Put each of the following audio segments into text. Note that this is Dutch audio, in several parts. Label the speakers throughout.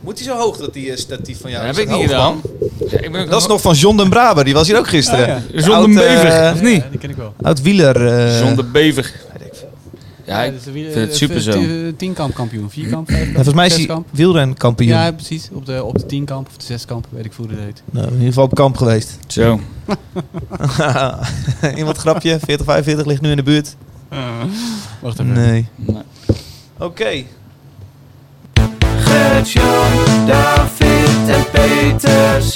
Speaker 1: Moet hij zo hoog dat die,
Speaker 2: eh,
Speaker 1: is- dat die van jou
Speaker 3: heb
Speaker 1: is
Speaker 3: ik niet
Speaker 1: hoog,
Speaker 3: gedaan.
Speaker 1: man?
Speaker 3: Ja, ik ben ook
Speaker 2: Dat is nog van John den Braber, die was hier ook gisteren.
Speaker 4: Ah,
Speaker 2: De
Speaker 3: John
Speaker 2: oud,
Speaker 3: de Bever,
Speaker 2: eh,
Speaker 3: of niet?
Speaker 4: Ja, die ken ik wel.
Speaker 2: Oud wieler. eh,
Speaker 3: John de Bever. Ja, ik
Speaker 4: dus de wie-
Speaker 3: vind het
Speaker 4: eh,
Speaker 3: super zo.
Speaker 4: ti- eh, Tienkamp kampioen. Vierkamp, vijfkamp,
Speaker 2: En volgens mij is hij
Speaker 4: zeskamp.
Speaker 2: wielrenkampioen.
Speaker 4: Ja, precies. Op de, op de tienkamp of de zeskamp, weet ik hoe dat heet.
Speaker 2: Nou, in ieder geval op kamp geweest.
Speaker 3: Zo.
Speaker 2: Iemand grapje, 40, 45 ligt nu in de buurt.
Speaker 4: Wacht even.
Speaker 2: Ah. Nee.
Speaker 3: Nee.
Speaker 2: Oké.
Speaker 5: Gert-Jan, David en Peters.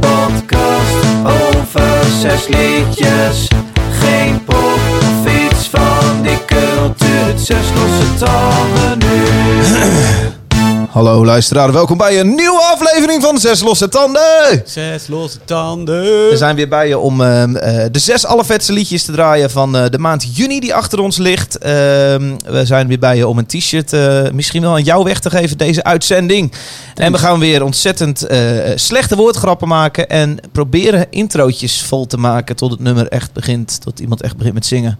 Speaker 5: Podcast over zes liedjes. Geen pop of iets van die cultuurt. Zes losse tanden nu.
Speaker 2: Hallo luisteraar, welkom bij een nieuwe aflevering van Zes Losse Tanden.
Speaker 4: Zes losse tanden.
Speaker 2: We zijn weer bij je om ehm, eh, de zes allervetste liedjes te draaien van eh, de maand juni die achter ons ligt. Ehm, we zijn weer bij je om een t-shirt eh, misschien wel aan jou weg te geven deze uitzending. En we gaan weer ontzettend eh, slechte woordgrappen maken en proberen introotjes vol te maken tot het nummer echt begint, tot iemand echt begint met zingen.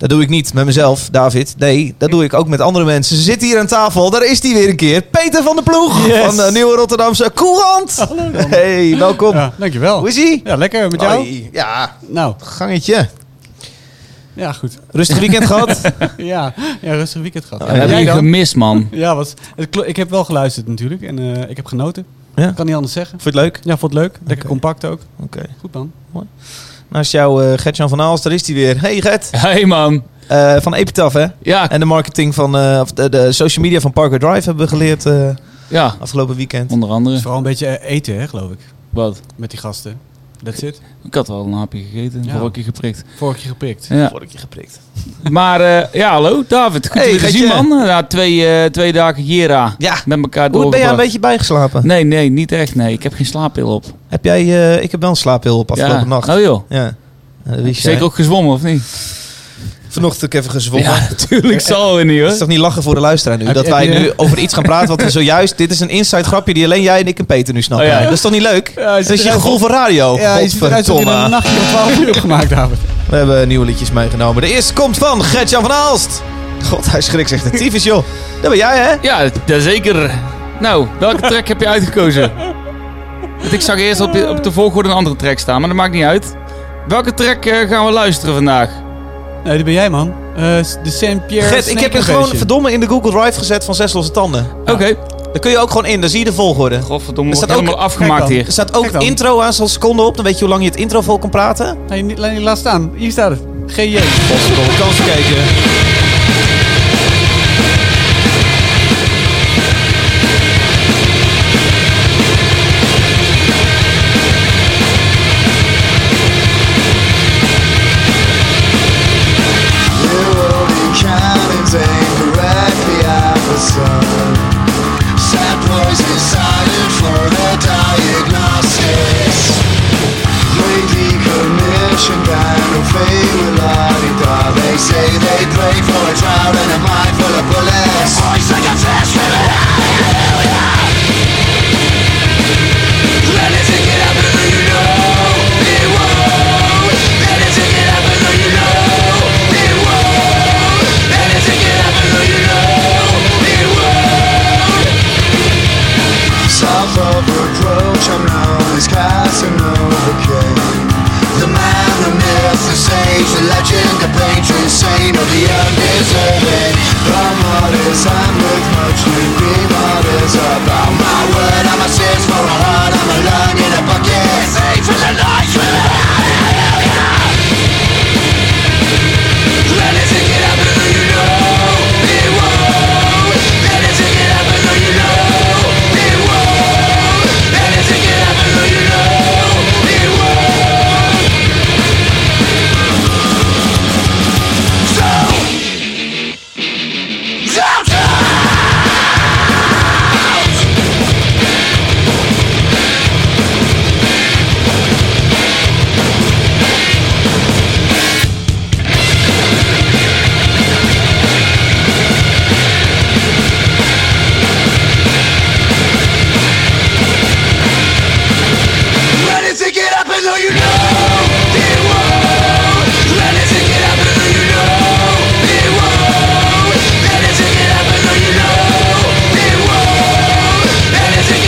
Speaker 2: Dat doe ik niet met mezelf, David. Nee, dat doe ik ook met andere mensen. Ze zitten hier aan tafel. Daar is hij weer een keer. Peter van de Ploeg
Speaker 4: Yes.
Speaker 2: van de Nieuwe Rotterdamse Courant. Hey, welkom.
Speaker 4: Ja, dankjewel.
Speaker 2: Hoe is ie?
Speaker 4: Ja, lekker met jou.
Speaker 2: Hoi. Ja,
Speaker 4: Nou,
Speaker 2: gangetje.
Speaker 4: ja, goed.
Speaker 2: Rustig weekend gehad.
Speaker 4: ja, ja, rustig weekend
Speaker 2: Oh,
Speaker 4: gehad.
Speaker 3: we hebben
Speaker 4: Jij
Speaker 3: je
Speaker 4: dan?
Speaker 3: gemist, man.
Speaker 4: Ja, was, het klo- ik heb wel geluisterd natuurlijk en eh, ik heb genoten.
Speaker 2: Ja.
Speaker 4: Kan niet anders zeggen.
Speaker 2: Vond je het leuk?
Speaker 4: Ja, vond het leuk. Lekker compact ook.
Speaker 2: Oké.
Speaker 4: Goed man.
Speaker 2: Naast jou eh, Gert-Jan van Aals, daar is hij weer. Hey Gert,
Speaker 3: Hey, man.
Speaker 2: Eh, van Epitaph hè?
Speaker 3: Ja,
Speaker 2: En de marketing van, eh, of de, de social media van Parker Drive hebben we geleerd eh,
Speaker 3: ja.
Speaker 2: afgelopen weekend.
Speaker 3: Onder
Speaker 4: Het is
Speaker 3: andere.
Speaker 4: vooral een beetje eh, eten, hè, geloof ik.
Speaker 3: Wat?
Speaker 4: Met die gasten. That's it.
Speaker 3: Ik had al een hapje gegeten.
Speaker 4: Ja.
Speaker 3: Ja. Vorige keer geprikt.
Speaker 4: Vorige keer geprikt.
Speaker 3: Ja.
Speaker 2: Vorige keer geprikt.
Speaker 3: Maar eh, ja, hallo David. Goed
Speaker 2: Hey,
Speaker 3: je weer te zien,
Speaker 2: Gertje.
Speaker 3: man. Ja, twee, eh, twee dagen Jera
Speaker 2: Ja.
Speaker 3: met elkaar
Speaker 2: Hoe ben jij een
Speaker 3: doorgebracht.
Speaker 2: beetje bijgeslapen?
Speaker 3: Nee, nee, niet echt. Nee, ik heb geen slaappil op.
Speaker 2: Heb jij, eh, ik heb wel een slaapheel op afgelopen
Speaker 3: ja.
Speaker 2: nacht.
Speaker 3: Oh joh.
Speaker 2: Ja. Eh, dat wist jij.
Speaker 3: Zeker ook gezwommen, of niet?
Speaker 2: Vanochtend ook even gezwommen.
Speaker 3: Ja, natuurlijk zal er niet
Speaker 2: Het is
Speaker 3: hoor.
Speaker 2: toch niet lachen voor de luisteraar nu?
Speaker 4: Heb-
Speaker 2: Dat
Speaker 4: heb
Speaker 2: wij
Speaker 4: je-
Speaker 2: nu over iets gaan praten wat we zojuist... Dit is een inside grapje die alleen jij en ik en Peter nu snappen.
Speaker 3: Oh ja.
Speaker 2: Dat is toch niet leuk?
Speaker 4: Ja, je
Speaker 2: Dat is
Speaker 4: ziet
Speaker 2: je
Speaker 4: eruit-
Speaker 2: gevoel voor radio.
Speaker 4: Ja, je ziet eruit alsof je
Speaker 2: Oh, Godverdomme.
Speaker 4: een nachtje om 12 uur hebt gemaakt, David.
Speaker 2: We hebben nieuwe liedjes meegenomen. De eerste komt van Gertjan van Aalst. God, hij schrikt zich de tyfus, joh. Dat ben jij, hè?
Speaker 3: Ja, d- daar zeker. Nou, welke track heb je uitgekozen? Want ik zag eerst op, op de volgorde een andere track staan, maar dat maakt niet uit. Welke track eh, gaan we luisteren vandaag?
Speaker 4: Nee, dat ben jij, man. Eh, s- de Saint Pierre
Speaker 2: Gert, ik heb hem gewoon verdomme in de Google Drive gezet van Zes Losse
Speaker 4: Oh.
Speaker 2: Tanden.
Speaker 3: Oké.
Speaker 2: Daar kun je ook gewoon in, daar zie je de volgorde.
Speaker 3: Godverdomme,
Speaker 2: Er
Speaker 3: wordt
Speaker 2: staat
Speaker 3: helemaal afgemaakt
Speaker 4: Kijk dan.
Speaker 3: hier.
Speaker 2: Er staat ook
Speaker 4: Kijk dan.
Speaker 2: intro aan, zo'n seconde op. Dan weet je hoe lang je het intro vol kan praten.
Speaker 4: Nee, niet- laat- laat staan. Hier staat het. GJ.
Speaker 2: Godverdomme, kans kijken.
Speaker 6: They say they pray for a trial and a mind full of bullets. Voice like a flash from an hallelujah. Let it take it up and though you know it won't. Let it take it up and though you know it won't. Let it take it up and though you know it won't. Self of reproach, I'm known as Casanova King. The man, the myth, the sage, the legend, the painter, insane of the undeserving. The martyrs, I'm with much to be martyrs about my word. I'm a sin for a heart, I'm a lung in a bucket. Save for the life of the hallelujah. Let it take it up and though you know it won't. Let it take it up and though you know it won't. Let it take it up and though you know it won't. So, don't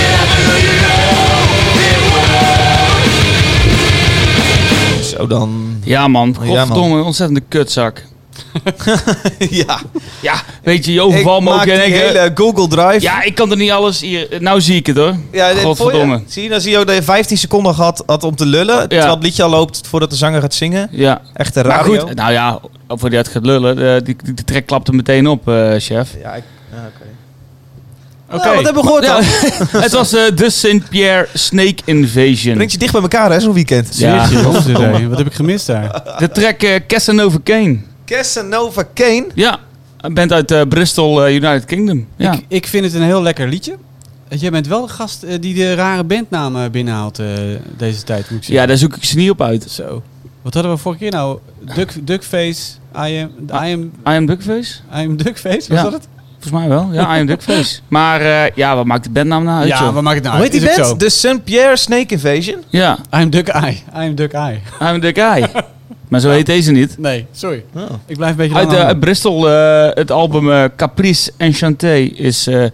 Speaker 2: dan.
Speaker 3: Ja,
Speaker 2: Ja, man.
Speaker 3: man. Godverdomme, ontzettende kutzak.
Speaker 2: ja,
Speaker 3: Ja, weet je, je overval
Speaker 2: ik
Speaker 3: me ook.
Speaker 2: maak die
Speaker 3: En ik, eh,
Speaker 2: hele Google Drive.
Speaker 3: Ja, ik kan er niet alles hier. Nou zie ik het hoor.
Speaker 2: Ja, dit-
Speaker 3: Godverdomme.
Speaker 2: voor je- zie je, dan zie je ook dat je 15 seconden had, had om te lullen. Terwijl het liedje al loopt voordat de zanger gaat zingen.
Speaker 3: Ja.
Speaker 2: Echte
Speaker 3: Maar
Speaker 2: radio.
Speaker 3: goed, nou ja, voor die het gaat lullen, eh, die, die, die track klapte meteen op, eh, chef.
Speaker 2: Ja, ik- ja, oké.
Speaker 3: Oké.
Speaker 2: Nou, wat hebben we gehoord
Speaker 3: Ja,
Speaker 2: dan?
Speaker 3: het was eh, de St. Pierre Snake Invasion.
Speaker 2: Brengt je dicht bij elkaar hè, zo'n weekend.
Speaker 3: Ja.
Speaker 4: Jeetje, jongens, hé. Wat heb ik gemist daar?
Speaker 3: De track eh, Casanova Kane.
Speaker 2: Casanova Kane.
Speaker 3: Ja, een band uit eh, Bristol, eh, United Kingdom. Ja.
Speaker 4: Ik, ik vind het een heel lekker liedje. Jij bent wel een gast eh, die de rare bandnamen binnenhaalt eh, deze tijd, moet ik zeggen.
Speaker 3: ja, daar zoek ik ze niet op uit.
Speaker 4: Zo. Wat hadden we vorige keer nou? Duck, duckface, I am, I am,
Speaker 3: I am Duckface?
Speaker 4: I am Duckface, was
Speaker 3: Ja.
Speaker 4: dat het?
Speaker 3: Volgens mij wel. Ja, I am Duckface. Maar eh, ja, wat maakt de bandnaam nou uit? joh?
Speaker 4: maakt het nou
Speaker 2: Hoe heet die band? De St. Pierre Snake Invasion.
Speaker 3: Ja,
Speaker 4: I'm Duck Eye. I'm Duck Eye.
Speaker 3: I am Duck Eye. maar zo heet deze niet.
Speaker 4: Nee, sorry.
Speaker 2: Oh.
Speaker 4: Ik blijf een beetje
Speaker 3: Uit,
Speaker 4: lang
Speaker 3: eh,
Speaker 4: hangen.
Speaker 3: uit Bristol, eh, het album eh, Caprice Enchanté is eh, is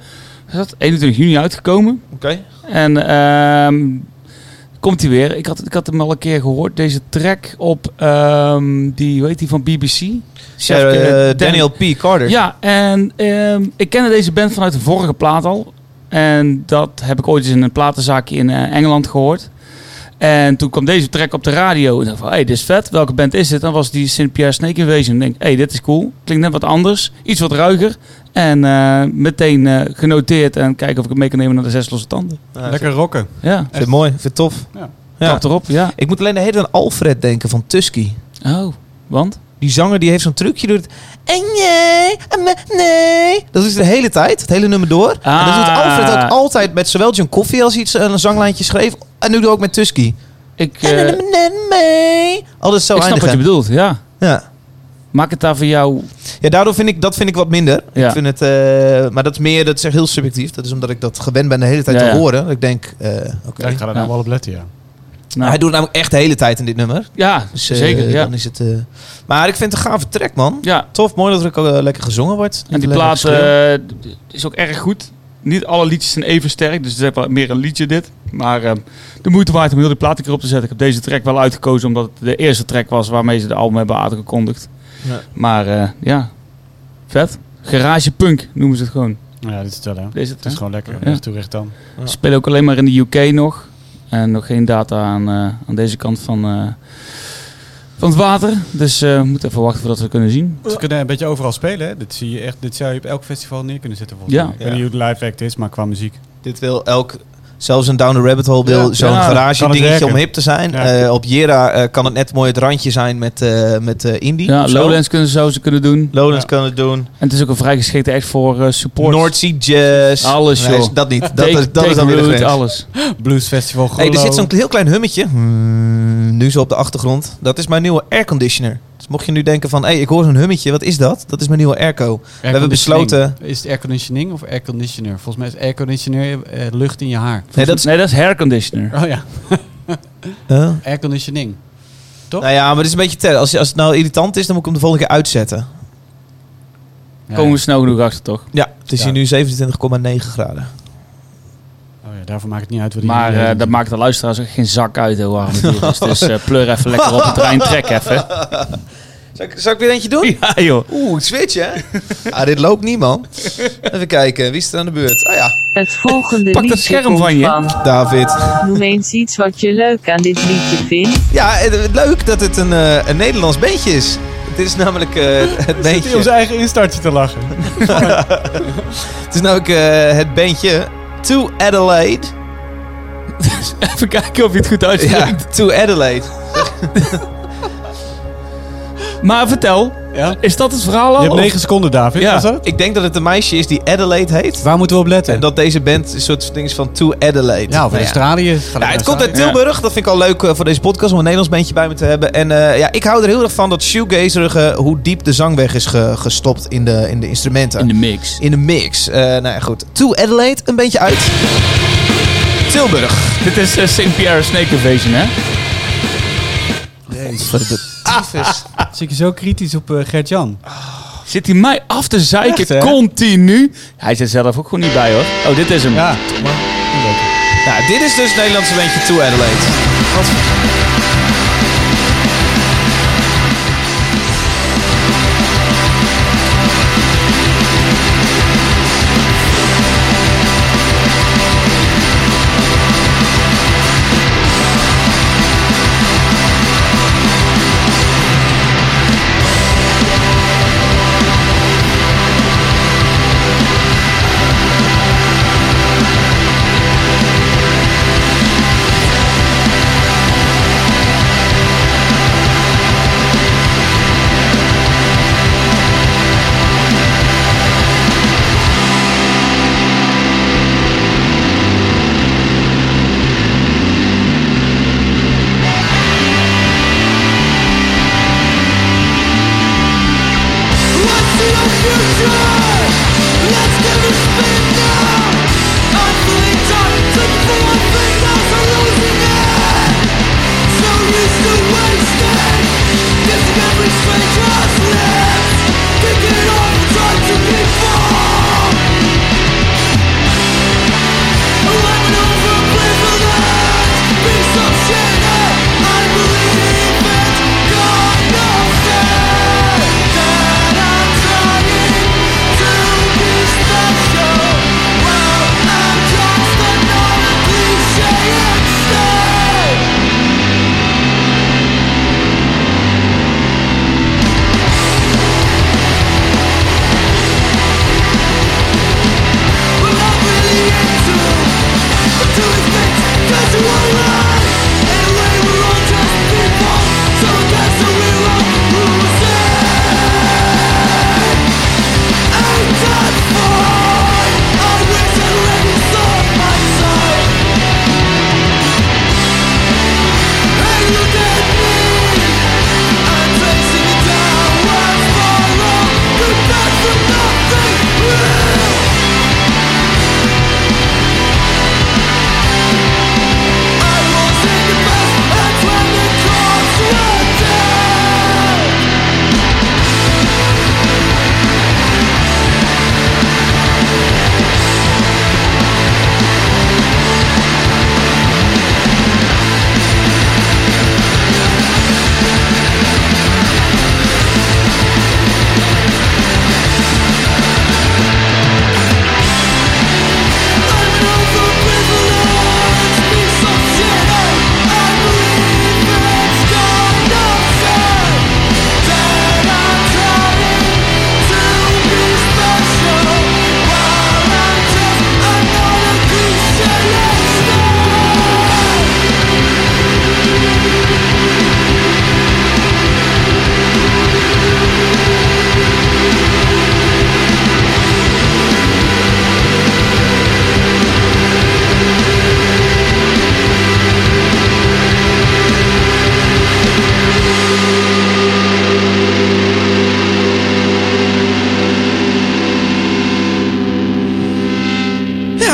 Speaker 3: dat 21 juni uitgekomen.
Speaker 2: Oké.
Speaker 3: En ehm, komt hij weer. Ik had, ik had hem al een keer gehoord, deze track op ehm, die, hoe heet die, van BBC? Chef,
Speaker 2: Ja, eh,
Speaker 3: eh, Dan-
Speaker 2: Daniel P. Carter.
Speaker 3: Ja, en ehm, ik kende deze band vanuit de vorige plaat al. En dat heb ik ooit eens in een platenzaakje in eh, Engeland gehoord. En toen kwam deze track op de radio. En dacht van, hé, hey, dit is vet. Welke band is dit? Dan was die St. Pierre Snake Invasion. En denk, hé, hey, dit is cool. Klinkt net wat anders. Iets wat ruiger. En eh, meteen eh, genoteerd. En kijken of ik het mee kan nemen naar de Zes Losse Tanden.
Speaker 2: Ah,
Speaker 4: Lekker rocken.
Speaker 3: Ja,
Speaker 2: Vind het mooi, vind het tof.
Speaker 4: Ja.
Speaker 2: Ja.
Speaker 3: klap erop. Ja.
Speaker 2: Ik moet alleen de hele tijd aan Alfred denken van Tusky.
Speaker 3: Oh, want?
Speaker 2: Die zanger die heeft zo'n trucje doet. het, En nee, en me- nee. Dat is de hele tijd, het hele nummer door. En dat doet
Speaker 3: Ah.
Speaker 2: Alfred ook altijd met zowel John Coffee als iets een zanglijntje schreef. En nu ook met Tusky.
Speaker 3: Ik,
Speaker 2: En
Speaker 3: eh,
Speaker 2: en- en- en- mee. Altijd zo
Speaker 3: ik snap wat je
Speaker 2: eindigen.
Speaker 3: bedoelt. Ja.
Speaker 2: Ja.
Speaker 3: Maak het daar voor jou.
Speaker 2: ja, daardoor vind ik dat vind ik wat minder.
Speaker 3: Ja.
Speaker 2: Ik vind het, eh, maar dat is meer, dat is echt heel subjectief. Dat is omdat ik dat gewend ben de hele tijd
Speaker 3: Ja,
Speaker 2: te
Speaker 3: ja.
Speaker 2: horen. Ik denk, eh, oké.
Speaker 4: Ja, ik ga daar
Speaker 3: Ja.
Speaker 4: nou wel op letten, ja.
Speaker 3: Nou,
Speaker 2: Hij doet het namelijk echt de hele tijd in dit nummer.
Speaker 3: ja,
Speaker 2: Dus, eh,
Speaker 3: zeker. Ja.
Speaker 2: Dan is het, eh, maar ik vind het een gave track, man.
Speaker 3: ja,
Speaker 2: Tof, mooi dat er ook eh, lekker gezongen wordt. Niet
Speaker 3: En die
Speaker 2: alleen maar
Speaker 3: plaat
Speaker 2: geschreeuw.
Speaker 3: eh, d- is ook erg goed. Niet alle liedjes zijn even sterk, dus het is wel meer een liedje dit. Maar eh, de moeite waard om heel die plaat een keer op te zetten. Ik heb deze track wel uitgekozen omdat het de eerste track was waarmee ze de album hebben aangekondigd.
Speaker 2: Ja.
Speaker 3: Maar eh, ja, vet. Garage punk noemen ze het gewoon.
Speaker 4: Ja, dit is het wel, hè. Het
Speaker 3: Deze
Speaker 4: is
Speaker 3: track.
Speaker 4: gewoon lekker.
Speaker 3: Ja.
Speaker 4: Dat is toerecht dan.
Speaker 3: Ze spelen ook alleen maar in de UK nog. En nog geen data aan, eh, aan deze kant van, eh, van het water. Dus eh, we moeten even wachten voordat we het kunnen zien.
Speaker 4: Ze kunnen een beetje overal spelen, hè. Dit, zie je echt, dit zou je op elk festival neer kunnen zetten, volgens
Speaker 3: Ja.
Speaker 4: mij. Ik
Speaker 2: Ja.
Speaker 4: weet niet hoe de live act is, maar qua muziek.
Speaker 2: Dit wil elk, zelfs een Down the Rabbit Hole wil
Speaker 4: Ja.
Speaker 2: zo'n
Speaker 3: Ja,
Speaker 2: garage
Speaker 4: kan het
Speaker 2: dingetje
Speaker 4: werken.
Speaker 2: om hip te zijn.
Speaker 4: Ja.
Speaker 2: Eh, op Jera eh, kan het net mooi het randje zijn met, eh, met eh, indie.
Speaker 3: Ja,
Speaker 2: of zo.
Speaker 3: Lowlands kunnen ze zo ze kunnen doen.
Speaker 2: Lowlands
Speaker 4: Ja.
Speaker 2: kan het doen.
Speaker 3: En het is ook een vrij geschikte echt voor eh, support.
Speaker 2: North Sea Jazz.
Speaker 3: Alles,
Speaker 2: Nee,
Speaker 3: joh.
Speaker 2: dat niet. Dat, is, dat is dan weer de
Speaker 3: Take
Speaker 2: grens.
Speaker 3: Root, alles.
Speaker 4: Blues Festival, Grollo.
Speaker 2: Hey, er zit zo'n heel klein hummetje. Hmm, nu zo op de achtergrond. Dat is mijn nieuwe airconditioner. Dus mocht je nu denken van, hé, hey, ik hoor zo'n hummetje. Wat is dat? Dat is mijn nieuwe airco.
Speaker 4: We
Speaker 2: hebben besloten-
Speaker 4: Is het airconditioning of airconditioner? Volgens mij is airconditioner eh, lucht in je haar.
Speaker 2: Nee, dat is...
Speaker 3: nee, dat is hairconditioner.
Speaker 4: Oh ja,
Speaker 2: Huh?
Speaker 4: airconditioning.
Speaker 2: Nou ja, maar dit is een beetje ter. Als, als het nou irritant is, dan moet ik hem de volgende keer uitzetten.
Speaker 4: Ja.
Speaker 3: Komen we snel genoeg achter, toch?
Speaker 2: Ja, het is
Speaker 4: Ja.
Speaker 2: hier nu 27,9 graden.
Speaker 4: Oh ja, daarvoor maakt het niet uit wat
Speaker 3: Maar
Speaker 4: iedereen
Speaker 3: eh,
Speaker 4: doet.
Speaker 3: dat maakt de luisteraars ook geen zak uit hoe warm het hier is. Dus eh, pleur even lekker op de trein, trek even.
Speaker 2: Zal ik, zal ik weer eentje doen?
Speaker 3: Ja joh.
Speaker 2: Oeh, ik switch hè? ah, dit loopt niet man. Even kijken, wie is er aan de beurt? Ah ja,
Speaker 7: Het volgende
Speaker 3: Pak dat
Speaker 7: liedje
Speaker 3: scherm
Speaker 7: komt
Speaker 3: van je.
Speaker 2: David.
Speaker 7: Noem eens iets wat je leuk aan dit liedje vindt.
Speaker 2: Ja, het- het- leuk dat het een, eh, een Nederlands beentje is. Het is namelijk eh, het
Speaker 4: Zit hij om
Speaker 2: beentje.
Speaker 4: zijn eigen instartje te lachen?
Speaker 2: Het is namelijk eh, het beentje To Adelaide.
Speaker 3: Even kijken of je het goed
Speaker 2: Ja,
Speaker 3: uitspreekt.
Speaker 2: To Adelaide.
Speaker 3: Maar vertel,
Speaker 4: Ja?
Speaker 3: is dat het verhaal al?
Speaker 4: Je hebt
Speaker 3: Of-
Speaker 4: 9 seconden, David.
Speaker 3: Ja.
Speaker 4: Was dat?
Speaker 2: Ik denk dat het een meisje is die Adelaide heet.
Speaker 4: Waar moeten we op letten?
Speaker 2: En dat deze band een soort ding is van To Adelaide.
Speaker 4: ja,
Speaker 2: Nou
Speaker 4: of in Australië. Ga
Speaker 2: Ja,
Speaker 4: naar
Speaker 2: het komt uit
Speaker 4: Australië.
Speaker 2: Tilburg. Dat vind ik al leuk eh, voor deze podcast om een Nederlands bandje bij me te hebben. En eh, ja, ik hou er heel erg van dat shoegazerige, hoe diep de zang weg is ge- gestopt in de, in de instrumenten.
Speaker 3: In de mix.
Speaker 2: In de mix. Eh, nou ja, goed. To Adelaide, een beetje uit. Tilburg.
Speaker 3: Dit is eh, St. Pierre Snake Invasion, hè?
Speaker 4: Zit je zo kritisch op eh, Gert-Jan?
Speaker 3: Zit hij mij af te zeiken
Speaker 4: Echt, hè?
Speaker 3: continu? Hij zit zelf ook gewoon niet bij, hoor. Oh, dit is hem.
Speaker 4: Ja.
Speaker 2: Nou, dit is dus het Nederlandse bandje To Adelaide. Wat-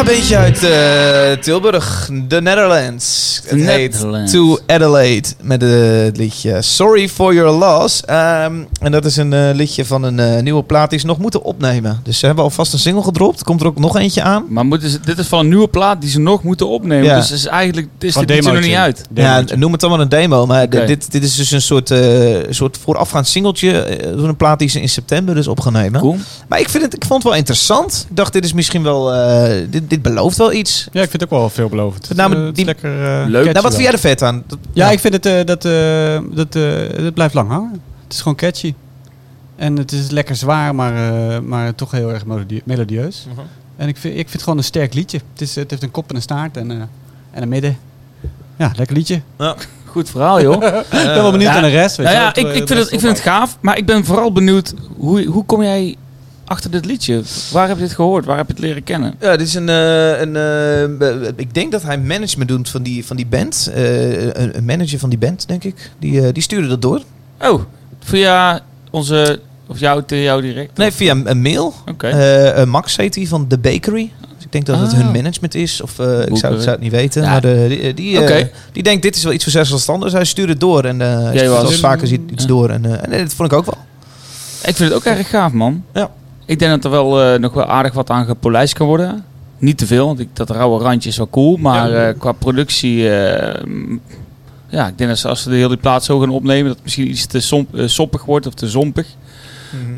Speaker 2: liedje uit eh, Tilburg, The Netherlands. Het heet
Speaker 3: Netherlands.
Speaker 2: To Adelaide met eh, het liedje Sorry for Your Loss. Ehm, en dat is een eh, liedje van een eh, nieuwe plaat die ze nog moeten opnemen. Dus ze hebben alvast een single gedropt. Komt er ook nog eentje aan?
Speaker 3: Maar moeten ze, dit is van een nieuwe plaat die ze nog moeten opnemen.
Speaker 2: Ja.
Speaker 3: Dus is eigenlijk dit is
Speaker 4: Van
Speaker 3: dit liedje nog
Speaker 4: demootje.
Speaker 3: niet uit.
Speaker 2: Ja, noem het dan wel een demo. Maar
Speaker 3: Oké.
Speaker 2: dit, dit is dus een soort, eh, soort voorafgaand singeltje. eh, door een plaat die ze in september dus opgenomen.
Speaker 3: Cool.
Speaker 2: Maar ik, vind het, ik vond het wel interessant. Ik dacht, dit is misschien wel... eh, dit, dit belooft wel iets.
Speaker 4: Ja, ik vind het ook wel veelbelovend. Het,
Speaker 2: Namelijk
Speaker 4: eh, het
Speaker 2: die-
Speaker 4: is lekker... eh,
Speaker 3: Leuk.
Speaker 4: catchy
Speaker 2: Nou, wat
Speaker 4: wel.
Speaker 2: vind jij er vet aan? Dat-
Speaker 4: Ja, ik vind het, eh, dat, eh, dat, eh, dat blijft lang hangen. Het is gewoon catchy. En het is lekker zwaar, maar, eh, maar toch heel erg melodie- melodieus.
Speaker 2: Mhm.
Speaker 4: En ik vind, ik vind het gewoon een sterk liedje. Het, is, het heeft een kop en een staart en, eh, en een midden. Ja, lekker liedje.
Speaker 3: Goed verhaal, joh.
Speaker 4: ik ben wel benieuwd
Speaker 3: ja.
Speaker 4: naar de rest. weet
Speaker 3: nou
Speaker 4: je
Speaker 3: ja,
Speaker 4: wel,
Speaker 3: ik,
Speaker 4: wat, eh,
Speaker 3: ik,
Speaker 4: de
Speaker 3: vind het,
Speaker 4: rest
Speaker 3: ik vind het gaaf. Maar ik ben vooral benieuwd, hoe, hoe kom jij achter dit liedje? Waar heb je dit gehoord? Waar heb je het leren kennen?
Speaker 2: Ja, dit is een. eh, een eh, ik denk dat hij management doet van die, van die band. Eh, een, een manager van die band, denk ik. Die, eh, die stuurde dat door.
Speaker 3: Oh, via onze... Of jou, tegen jou direct?
Speaker 2: Nee, via een een mail.
Speaker 3: Oké.
Speaker 2: Eh, eh, Max heet hij van The Bakery. Dus ik denk dat het
Speaker 3: Ah.
Speaker 2: hun management is. Of eh, ik zou,
Speaker 3: Boeker.
Speaker 2: ik zou het niet weten.
Speaker 3: Ja.
Speaker 2: Maar de, die, eh, die, eh,
Speaker 3: Oké.
Speaker 2: die denkt: dit is wel iets voor zes als anders. Hij stuurde het door. En eh hij
Speaker 3: Jij was-
Speaker 2: was vaker ziet iets
Speaker 3: Ja.
Speaker 2: door. En, eh, en eh, dat vond ik ook wel.
Speaker 3: Ik vind het ook erg gaaf, man.
Speaker 2: Ja.
Speaker 3: Ik denk dat er wel eh, nog wel aardig wat aan gepolijst kan worden. Niet te veel, want ik, dat rauwe randje is wel cool. Maar eh, qua productie... eh, mm, ja, ik denk dat ze, als ze de hele plaat zo gaan opnemen... dat het misschien iets te somp- eh, soppig wordt of te zompig.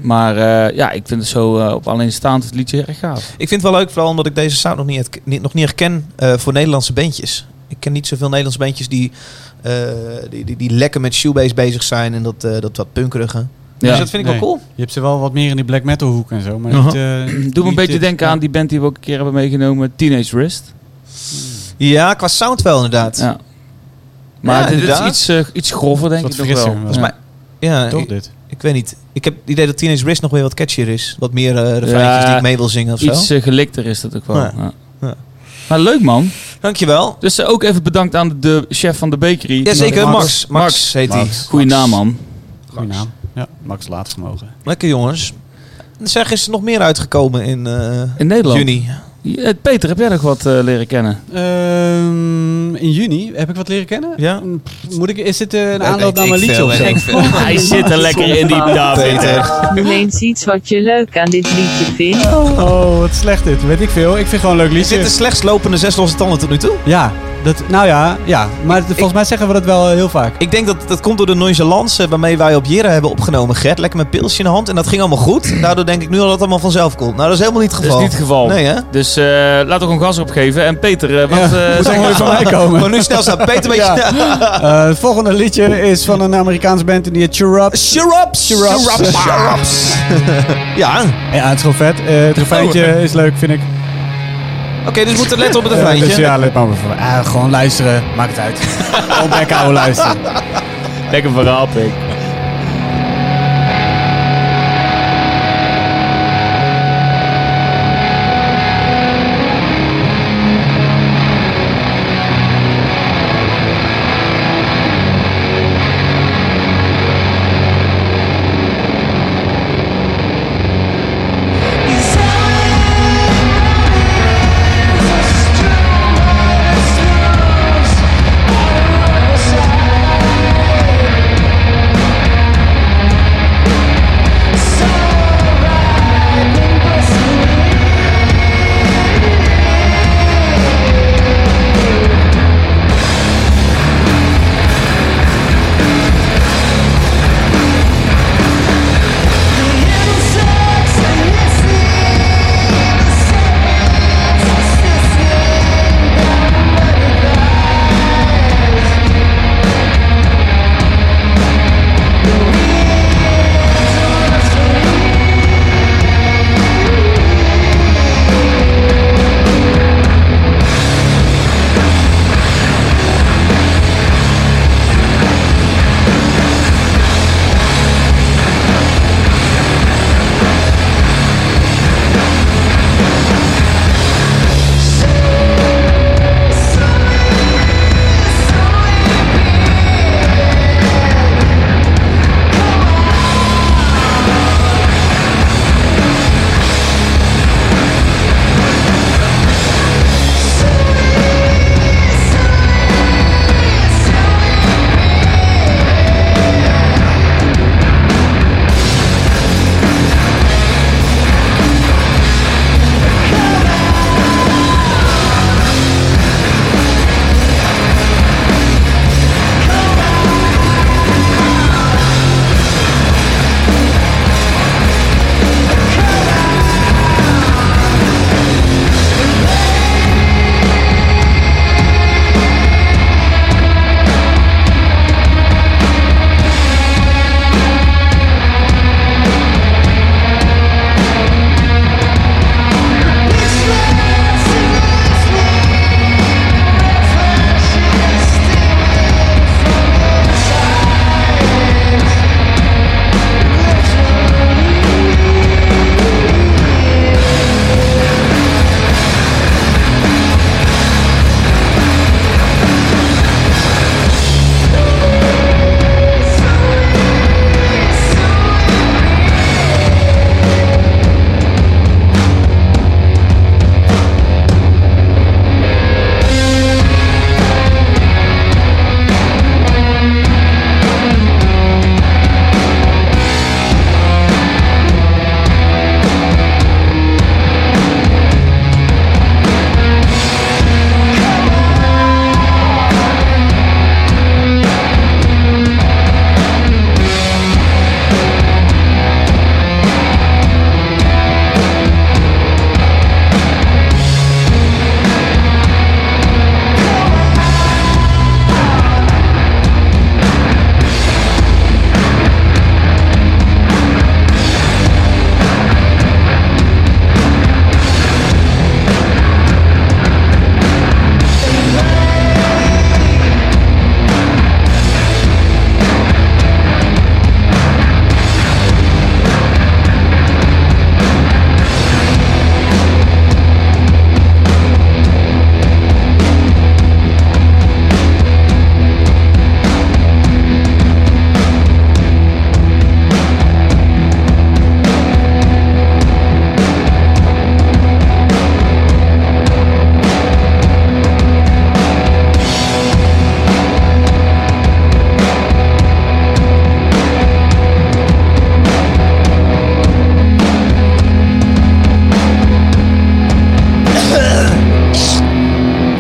Speaker 3: Maar eh, ja, ik vind het zo eh, op alleen staand het liedje erg gaaf.
Speaker 2: Ik vind het wel leuk, vooral omdat ik deze sound nog niet, herk- niet, nog niet herken eh, voor Nederlandse bandjes. Ik ken niet zoveel Nederlandse bandjes die, eh, die, die, die lekker met shoebase bezig zijn en dat, eh, dat wat punkerige. Dus
Speaker 3: Ja.
Speaker 2: dat vind ik
Speaker 4: Nee.
Speaker 2: wel cool.
Speaker 4: Je hebt ze wel wat meer in die black metal hoek en zo. Maar
Speaker 2: Aha.
Speaker 4: niet, eh,
Speaker 3: Doe me een
Speaker 4: niet
Speaker 3: beetje
Speaker 4: dit-
Speaker 3: denken aan die band die we ook een keer hebben meegenomen. Teenage Wrist.
Speaker 2: Ja, qua sound wel inderdaad. Ja.
Speaker 3: Ja. Maar
Speaker 2: Ja,
Speaker 3: dit is
Speaker 2: inderdaad.
Speaker 3: iets, eh, iets grover, denk
Speaker 4: Wat
Speaker 3: ik nog
Speaker 4: frisser,
Speaker 3: wel.
Speaker 4: wel.
Speaker 3: Ja.
Speaker 2: Volgens
Speaker 4: Toch
Speaker 2: ik,
Speaker 4: dit?
Speaker 2: ik weet niet. Ik heb het idee dat Teenage Wrist nog weer wat catchier is. Wat meer eh refreintjes
Speaker 3: Ja,
Speaker 2: die ik mee wil zingen of zo.
Speaker 3: Iets eh, gelikter is dat ook wel.
Speaker 2: Ja.
Speaker 3: Ja.
Speaker 2: Ja.
Speaker 3: Maar leuk man.
Speaker 2: Dankjewel.
Speaker 3: Dus eh, ook even bedankt aan de, de chef van de bakery.
Speaker 2: Jazeker, Max.
Speaker 4: Max.
Speaker 2: Max,
Speaker 3: Max.
Speaker 2: heet hij.
Speaker 4: Max.
Speaker 3: Goeie naam man.
Speaker 4: Goeie naam. Ja, Max Laatvermogen.
Speaker 2: Lekker jongens. Zeg, is er nog meer uitgekomen in, eh,
Speaker 3: In Nederland.
Speaker 2: juni?
Speaker 3: Eh, Peter, heb jij nog wat eh, leren kennen?
Speaker 4: Ehm, in juni heb ik wat leren kennen.
Speaker 2: Ja.
Speaker 4: Pff, Moet ik, is dit eh, een aanloop
Speaker 2: weet
Speaker 4: naar
Speaker 2: ik
Speaker 4: mijn liedje
Speaker 2: veel,
Speaker 4: of zo?
Speaker 2: weet ik veel.
Speaker 3: Hij zit er lekker in die David.
Speaker 2: Peter.
Speaker 7: Noem eens iets wat je leuk aan dit liedje vindt.
Speaker 4: Oh, wat slecht dit. Weet ik veel. Ik vind gewoon een leuk
Speaker 2: Is dit de
Speaker 4: liedje.
Speaker 2: slechtst lopende zes losse tanden tot nu toe?
Speaker 4: Ja, dat, nou ja, ja. Maar het- volgens mij zeggen we dat wel eh, heel vaak.
Speaker 2: Ik denk dat dat komt door de nonchalance waarmee wij op Jera hebben opgenomen, Gert. Lekker met pilsje in de hand. En dat ging allemaal goed. Daardoor denk ik nu al dat het allemaal vanzelf komt. Nou, dat is helemaal niet het
Speaker 3: Dat is
Speaker 2: geval.
Speaker 3: niet het geval.
Speaker 2: Nee, hè?
Speaker 3: Dus eh, laten we gewoon gas opgeven. En Peter, eh, wat...
Speaker 4: Ja,
Speaker 3: eh,
Speaker 4: moet
Speaker 3: zeg-
Speaker 4: allemaal weer van mij komen.
Speaker 2: Maar nu snel staat Peter een beetje...
Speaker 4: Oh. Ja. Eh, het volgende liedje is van een Amerikaanse band en die heet Chirrup.
Speaker 2: Shurups!
Speaker 4: Shurups.
Speaker 2: Shurups! Ja.
Speaker 4: Ja, het is gewoon vet. Eh, het refreintje is leuk, vind ik.
Speaker 2: Oké, dus we moeten letten op het
Speaker 4: Eh,
Speaker 2: refreintje.
Speaker 4: dus ja, let maar op het refrein. Ah, gewoon luisteren, maakt het uit. Gewoon lekker ouwe luisteren.
Speaker 3: Lekker verhaal, Pik.
Speaker 8: Thank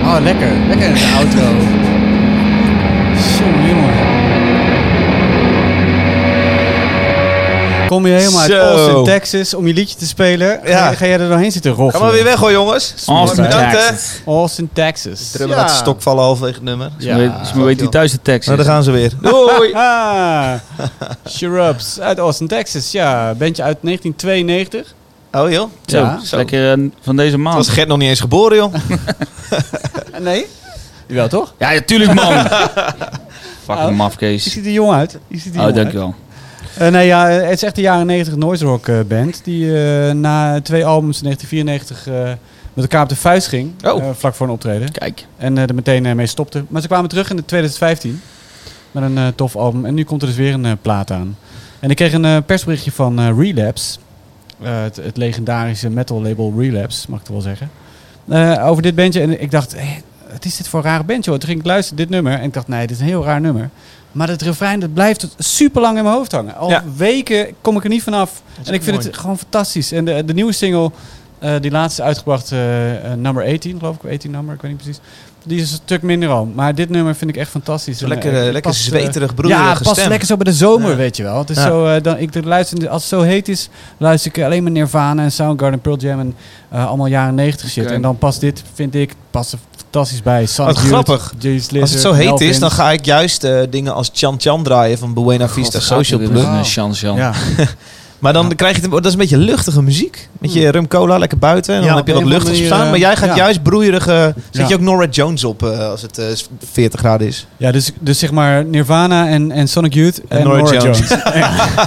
Speaker 4: Oh, lekker. Lekker in de auto. Jongen, jongen. Kom je helemaal uit
Speaker 2: Zo.
Speaker 4: Austin, Texas om je liedje te spelen? Ga-
Speaker 2: Ja.
Speaker 4: Ga, jij er doorheen zitten roffelen?
Speaker 2: Ga maar weer weg hoor jongens.
Speaker 3: Austin,
Speaker 2: Bedankt hè.
Speaker 3: Texas.
Speaker 4: Austin, Texas.
Speaker 2: Trullen
Speaker 1: Ja.
Speaker 2: laat de stok vallen halverwege het nummer.
Speaker 3: Ja,
Speaker 4: Ja.
Speaker 3: maar weet die thuis de tekst.
Speaker 2: Nou, daar gaan ze weer. Doei.
Speaker 4: Ah, Shrubs uit Austin, Texas. Ja, bandje uit 1992.
Speaker 2: Oh joh.
Speaker 3: Zo,
Speaker 4: Ja.
Speaker 3: is lekker eh, van deze
Speaker 2: Het was
Speaker 3: maand.
Speaker 2: Gert nog niet eens geboren joh.
Speaker 4: Eh, Nee? Jawel, toch?
Speaker 3: Ja, natuurlijk man. Fucking
Speaker 4: Je
Speaker 3: mafkees.
Speaker 4: ziet er jong uit. Je ziet er jong
Speaker 3: Oh,
Speaker 4: uit.
Speaker 3: dankjewel.
Speaker 4: Eh, nee, ja, het is echt de jaren 90 noise rock eh, band. Die eh, na twee albums in 1994 eh, met elkaar op de vuist ging.
Speaker 2: Oh.
Speaker 4: eh, vlak voor een optreden.
Speaker 3: Kijk.
Speaker 4: En eh, er meteen eh, mee stopte. Maar ze kwamen terug in 2015 met een eh, tof album. En nu komt er dus weer een eh, plaat aan. En ik kreeg een eh, persberichtje van eh, Relapse. Eh, het, het legendarische metal label Relapse, mag ik het wel zeggen. Eh, over dit bandje. En ik dacht, hé, wat is dit voor een raar bandje? Hoor. Toen ging ik luisteren, dit nummer. En ik dacht, nee, dit is een heel raar nummer. Maar het refrein, dat blijft super lang in mijn hoofd hangen. Al
Speaker 2: Ja.
Speaker 4: weken kom ik er niet vanaf. En ik
Speaker 2: ook
Speaker 4: vind
Speaker 2: mooi.
Speaker 4: het gewoon fantastisch. En de, de nieuwe single, eh, die laatste uitgebracht, eh, eh, nummer 18, geloof ik. 18 nummer, ik weet niet precies. Die is een stuk minder al. Maar dit nummer vind ik echt fantastisch.
Speaker 2: Zo
Speaker 4: En,
Speaker 2: lekker,
Speaker 4: eh,
Speaker 2: eh,
Speaker 4: het
Speaker 2: lekker
Speaker 4: past, eh,
Speaker 2: zweterig
Speaker 4: ja,
Speaker 2: broederige
Speaker 4: het past
Speaker 2: stem.
Speaker 4: lekker zo bij de zomer,
Speaker 2: Ja.
Speaker 4: weet je wel. Het is
Speaker 2: Ja.
Speaker 4: zo, eh, dan, ik luister, als het zo heet is, luister ik alleen maar Nirvana en Soundgarden, Pearl Jam en eh, allemaal jaren 90 shit.
Speaker 3: Oké.
Speaker 4: En dan past dit, vind ik, past er fantastisch bij. Sun
Speaker 2: Wat
Speaker 4: Dude,
Speaker 2: grappig.
Speaker 4: Juice
Speaker 2: Als het
Speaker 4: Lizard,
Speaker 2: zo heet is,
Speaker 4: Melvins.
Speaker 2: dan ga ik juist eh, dingen als Chan Chan draaien van Buena Vista Social Club.
Speaker 3: Een eh, Sjan Sjan.
Speaker 4: Ja.
Speaker 2: Maar dan krijg je het, dat is een beetje luchtige muziek. Met je rum cola lekker buiten en dan
Speaker 4: Hmm. Ja,
Speaker 2: heb je
Speaker 4: op
Speaker 2: wat
Speaker 4: een
Speaker 2: luchtigs
Speaker 4: manier, eh,
Speaker 2: op staan. Maar jij gaat
Speaker 4: ja.
Speaker 2: juist broeierige... Zet
Speaker 4: Ja.
Speaker 2: je ook Norah Jones op eh, als het eh, 40 graden is.
Speaker 4: ja, dus, dus zeg maar Nirvana en, en Sonic Youth en,
Speaker 2: Norah
Speaker 4: Norah
Speaker 2: Jones.
Speaker 4: Jones.